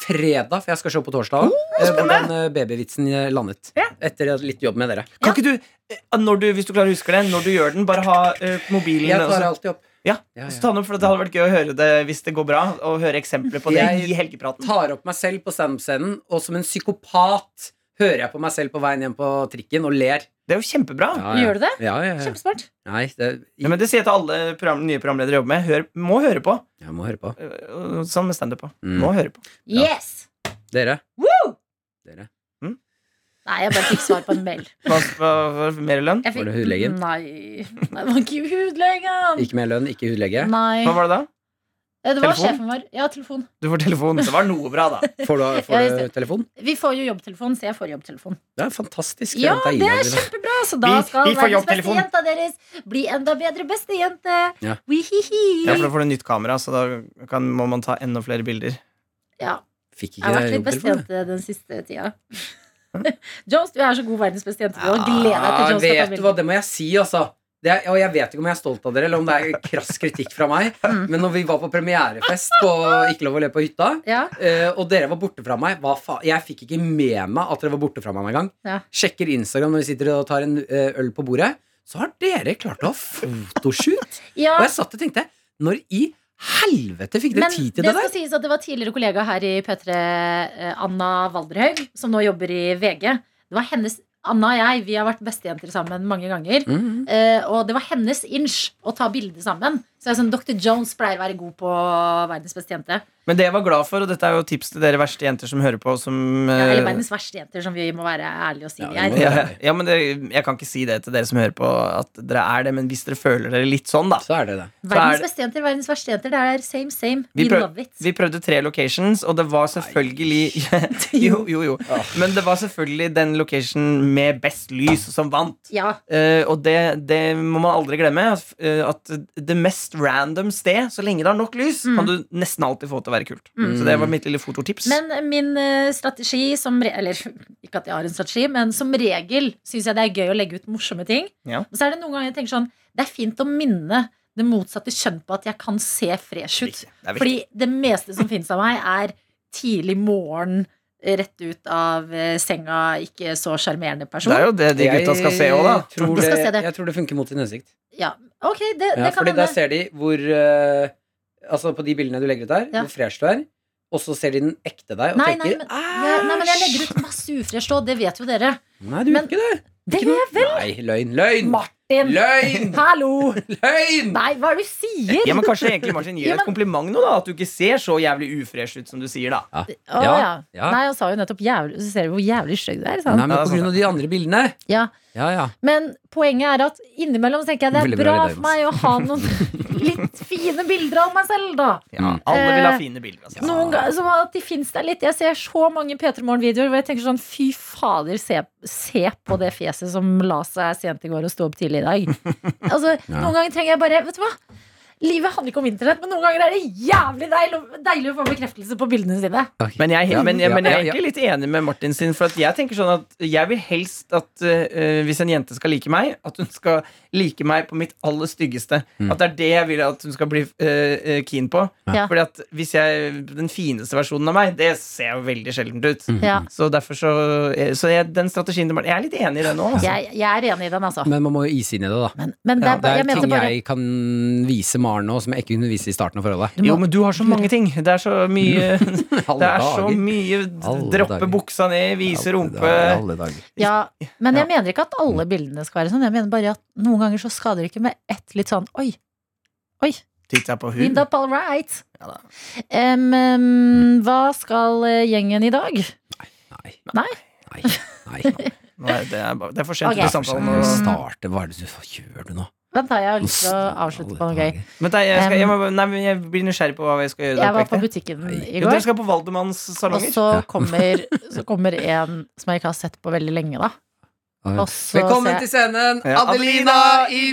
fredag, for jeg skal se på torsdag, eh, hvordan eh, babyvitsen eh, landet. Etter litt jobb med dere.
Kan ikke du, eh, når du, hvis du klarer å huske den, når du gjør den, bare ha eh, mobilen
Jeg
og
tar
så-
alltid opp.
ja,
Ja,
og så
ja.
ta den opp, for Det hadde vært gøy å høre det hvis det går bra, og høre eksempler på det
Jeg-
i helgepraten.
Tar opp meg selv på standup-scenen, og som en psykopat hører jeg på meg selv på veien hjem på trikken og ler.
Det er jo kjempebra.
Gjør du det?
Ja, ja, ja.
Kjempesmart.
Nei, det,
Ja, men Det sier jeg til alle program, nye programledere jeg jobber med. Hør, må høre på.
jeg må høre på.
Eh, Sånn med standup på.
Mm.
Må høre på.
Ja.
Yes!
Dere.
Woo!
Dere.
Nei, jeg bare fikk svar på en mail.
Hva, hva, hva, mer lønn?
Jeg
Var
fikk,
det hudlegen?
Nei, Nei, det var ikke hudlegen.
Ikke mer lønn, ikke hudlege.
Nei.
Hva var det da?
Eh, Det var
Telefon?
sjefen vår. Ja, telefon.
Du får telefon. Det var noe bra, da.
Får du,
Jeg-
får du telefon?
Vi får jo jobbtelefon, så jeg får jobbtelefon.
Det er fantastisk.
Ja,
jenta
det er
Ida.
kjempebra! Ah, Så da
Vi-
skal
vi får
verdens beste
jobbtelefon.
jenta deres bli enda bedre bestejente.
Ja.
Wihihi.
Ja, for Da får du nytt kamera, så da kan, må man ta enda flere bilder.
Ja,
Fikk
jeg har
ikke
vært litt
jobbtelefon.
bestejente den siste tida. Jones, du er så god verdens bestejente. Du har gledet deg til Jones skal ta
vet du hva,
bilde.
det må jeg si, altså. Det er, og jeg vet ikke om jeg er stolt av dere, eller om det er krass kritikk fra meg,
Mm.
men når vi var på premierefest på Ikke lov å le på hytta,
Ja,
eh, og dere var borte fra meg hva fa Jeg fikk ikke med meg at dere var borte fra meg en gang.
Ja.
Sjekker Instagram når vi sitter og tar en eh, øl på bordet, så har dere klart å ha fotoshoot.
ja.
Og jeg satt og tenkte, når i helvete fikk dere
Men
tid
det
til det der?
skal sies at det var tidligere kollega her i P3, eh, Anna Valderhaug, som nå jobber i VG. Det var hennes Anna og jeg vi har vært bestejenter sammen mange ganger.
Mhm.
eh, og det var hennes inch å ta bilde sammen. Så jeg er sånn, Dr. Jones pleier å være god på verdens beste jente.
Men det jeg var glad for, og dette er jo tips til dere verste jenter som hører på, som
Ja, eller
eh,
verdens verste jenter, som vi må være ærlige og si
Ja,
vi
det må
er.
vi.
ja, ja, men det, Jeg kan ikke si det til dere som hører på, at dere er det, men hvis dere føler dere litt sånn, da.
Så er det det.
så er
Verdens
det-
beste jenter, verdens verste jenter. Det er same, same.
Vi
We
prøv-
love it.
Vi prøvde tre locations, og det var selvfølgelig Jo, jo, jo. Men det var selvfølgelig den location med best lys som vant.
Ja,
Eh, og det, det må man aldri glemme. At, eh, at det mest random sted, så lenge det har nok lys,
Mm.
kan du nesten alltid få til å være kult. Så det var mitt lille fototips.
Men min eh, strategi som re Eller ikke at jeg har en strategi, men som regel syns jeg det er gøy å legge ut morsomme ting.
Ja.
Og så er det noen ganger jeg tenker sånn Det er fint å minne det motsatte kjønn på at jeg kan se fresh ut.
Det er viktig.
Fordi det meste som finnes av meg, er tidlig morgen, rett ut av eh, senga, ikke så sjarmerende person.
Det er jo det de gutta skal se òg, da.
Jeg Tror
De
det,
skal se det.
jeg tror det funker mot sin hensikt.
Ja, ok, det,
Ja,
det kan
fordi der
hende.
ser de hvor eh, Altså på de bildene du legger ut der,
Ja.
hvor fresh du er, og så ser de den ekte deg og
Nei, nei,
tenker
men, ja, nei, men jeg legger ut masse ufresh òg, det vet jo dere.
Nei, du
men-
gjør ikke det.
Det gjør jeg vel!
Nei, løgn, løgn!
Martin!
Løgn!
Hallo!
Løgn!
Nei, hva er det du sier?
Ja, men Kanskje egentlig Martin
Ja,
gir
men-
et kompliment nå, da? At du ikke ser så jævlig ufresh ut som du sier, da.
Å, ja.
Ja, ja.
Nei, han sa jo nettopp jævlig, Så ser du hvor jævlig stygg du er. sa han.
Nei, men
Ja, det er
på
sant,
grunn av de andre bildene.
Ja.
Ja, ja.
Men poenget er at innimellom så tenker jeg det
Veldig
er
bra
bra
idé,
for meg å ha noen litt fine bilder av meg selv, da.
Ja,
Mm.
alle vil ha
Eh,
fine bilder. Altså.
Noen ganger, så at de finnes der litt Jeg ser så mange P3 Morgen-videoer hvor jeg tenker sånn Fy fader, se, se på det fjeset som la seg sent i går og sto opp tidlig i dag. Altså,
Ja.
Noen ganger trenger jeg bare Vet du hva? Livet handler ikke om internett, men noen ganger er det jævlig deil, deilig å få bekreftelse på bildene sine.
Men jeg, er he-
Ja,
men, jeg, men jeg
ja,
er
ja.
egentlig litt enig med Martin sin. For at jeg tenker sånn at jeg vil helst at eh, hvis en jente skal like meg, at hun skal like meg på mitt aller styggeste.
Mm.
At det er det jeg vil at hun skal bli eh, eh, keen på.
Ja.
Fordi at hvis jeg, den fineste versjonen av meg, det ser jo veldig sjeldent ut.
Mm.
Ja,
Så derfor så, eh, så jeg, den strategien til Martin Jeg er litt enig i det nå. Altså.
jeg, jeg er enig i den, altså.
Men man må jo ise inn i det, da.
Men, men det,
Ja,
er
det
bare-
er
jeg mente
ting
bare
jeg kan vise Maren nå, som jeg ikke kunne vise i starten av forholdet.
Jo, men du har så mange ting. Det er så mye Det
Alle
er så
dager.
mye
Alle
droppe
dager.
buksa ned, vise
Alle
rumpe
dager, Alle dager.
Ja, men jeg mener ikke at alle bildene skal være sånn. Jeg mener bare at noen ganger så skader det ikke med ett litt sånn Oi, oi,
Titt deg på
end
huden.
up all right.
Ja da.
Em, em, hva skal eh, gjengen i dag?
Nei.
Nei?
Nei. Nei.
Nei, det, er bare, det er for sent
Ok.
for samtalen.
Nå
å-
starter Hva er det du Hva gjør du nå?
Vent, da, jeg har lyst til å avslutte på noe gøy.
Men nei, jeg, skal, jeg,
Um,
må- nei, men jeg blir nysgjerrig på hva jeg skal gjøre.
Jeg var
der på
på
ekte.
butikken i
Jo, dere
går,
skal på Valdemanns
og
salonger.
så kommer, så kommer en som jeg ikke har sett på veldig lenge, da. Og så
Velkommen
ser jeg-
til scenen,
Ja.
Adelina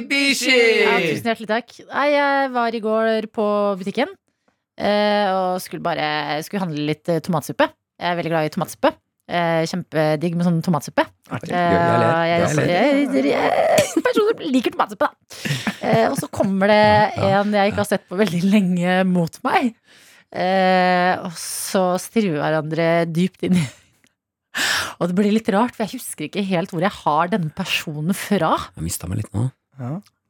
Ja,
Ibishi!
tusen hjertelig takk. Nei, jeg var i går på butikken eh, og skulle bare skulle handle litt eh, tomatsuppe. Jeg er veldig glad i tomatsuppe. Eh, kjempedigg med sånn tomatsuppe.
Artig.
Eh,
Jeg ler.
jeg,
Jeg
jeg, jeg, jeg, personer liker tomatsuppe, da. Eh, og så kommer det
Ja,
en jeg ikke har sett på veldig lenge, mot meg. Eh, og så stirrer vi hverandre dypt inn i Og det blir litt rart, for jeg husker ikke helt hvor jeg har denne personen fra.
Jeg mista meg litt nå.
Å,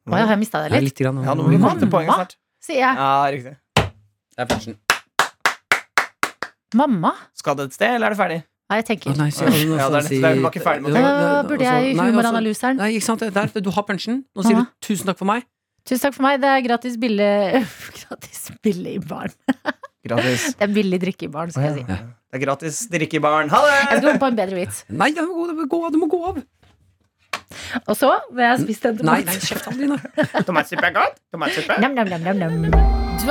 jeg har jeg mista deg
Jeg er
litt?
litt grann,
Ja, nå må vi komme til poenget
Mamma?
snart.
Sier jeg.
Ja, riktig.
Det er farsen.
Mamma?
Skal det et sted, eller er det ferdig?
Nei, jeg
Å,
tenker
nei, så-
Ja, det er-
sånn si-
det er- vi var ikke ferdig med
Ja,
Da
det-
burde
altså,
jeg i
nei, altså,
humoranalyseren.
Nei, ikke sant. Det er Der, du har punchen. Nå sier
Aha.
du 'tusen takk for meg'.
Tusen takk for meg. Det er gratis billig Gratis billig i baren.
Gratis.
Det er billig drikke i baren, skal jeg si.
Det er gratis drikke i baren. Ha det!
Jeg skal komme på en bedre vits.
Nei, du må gå, du må gå, av, du må gå av!
Og så vil jeg spise den
Nei, nei, kjeft, Adelina.
Tomatsuppe er godt. Tomatsuppe.
nam-nam-nam.
Du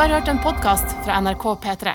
har hørt en podkast fra NRK P3.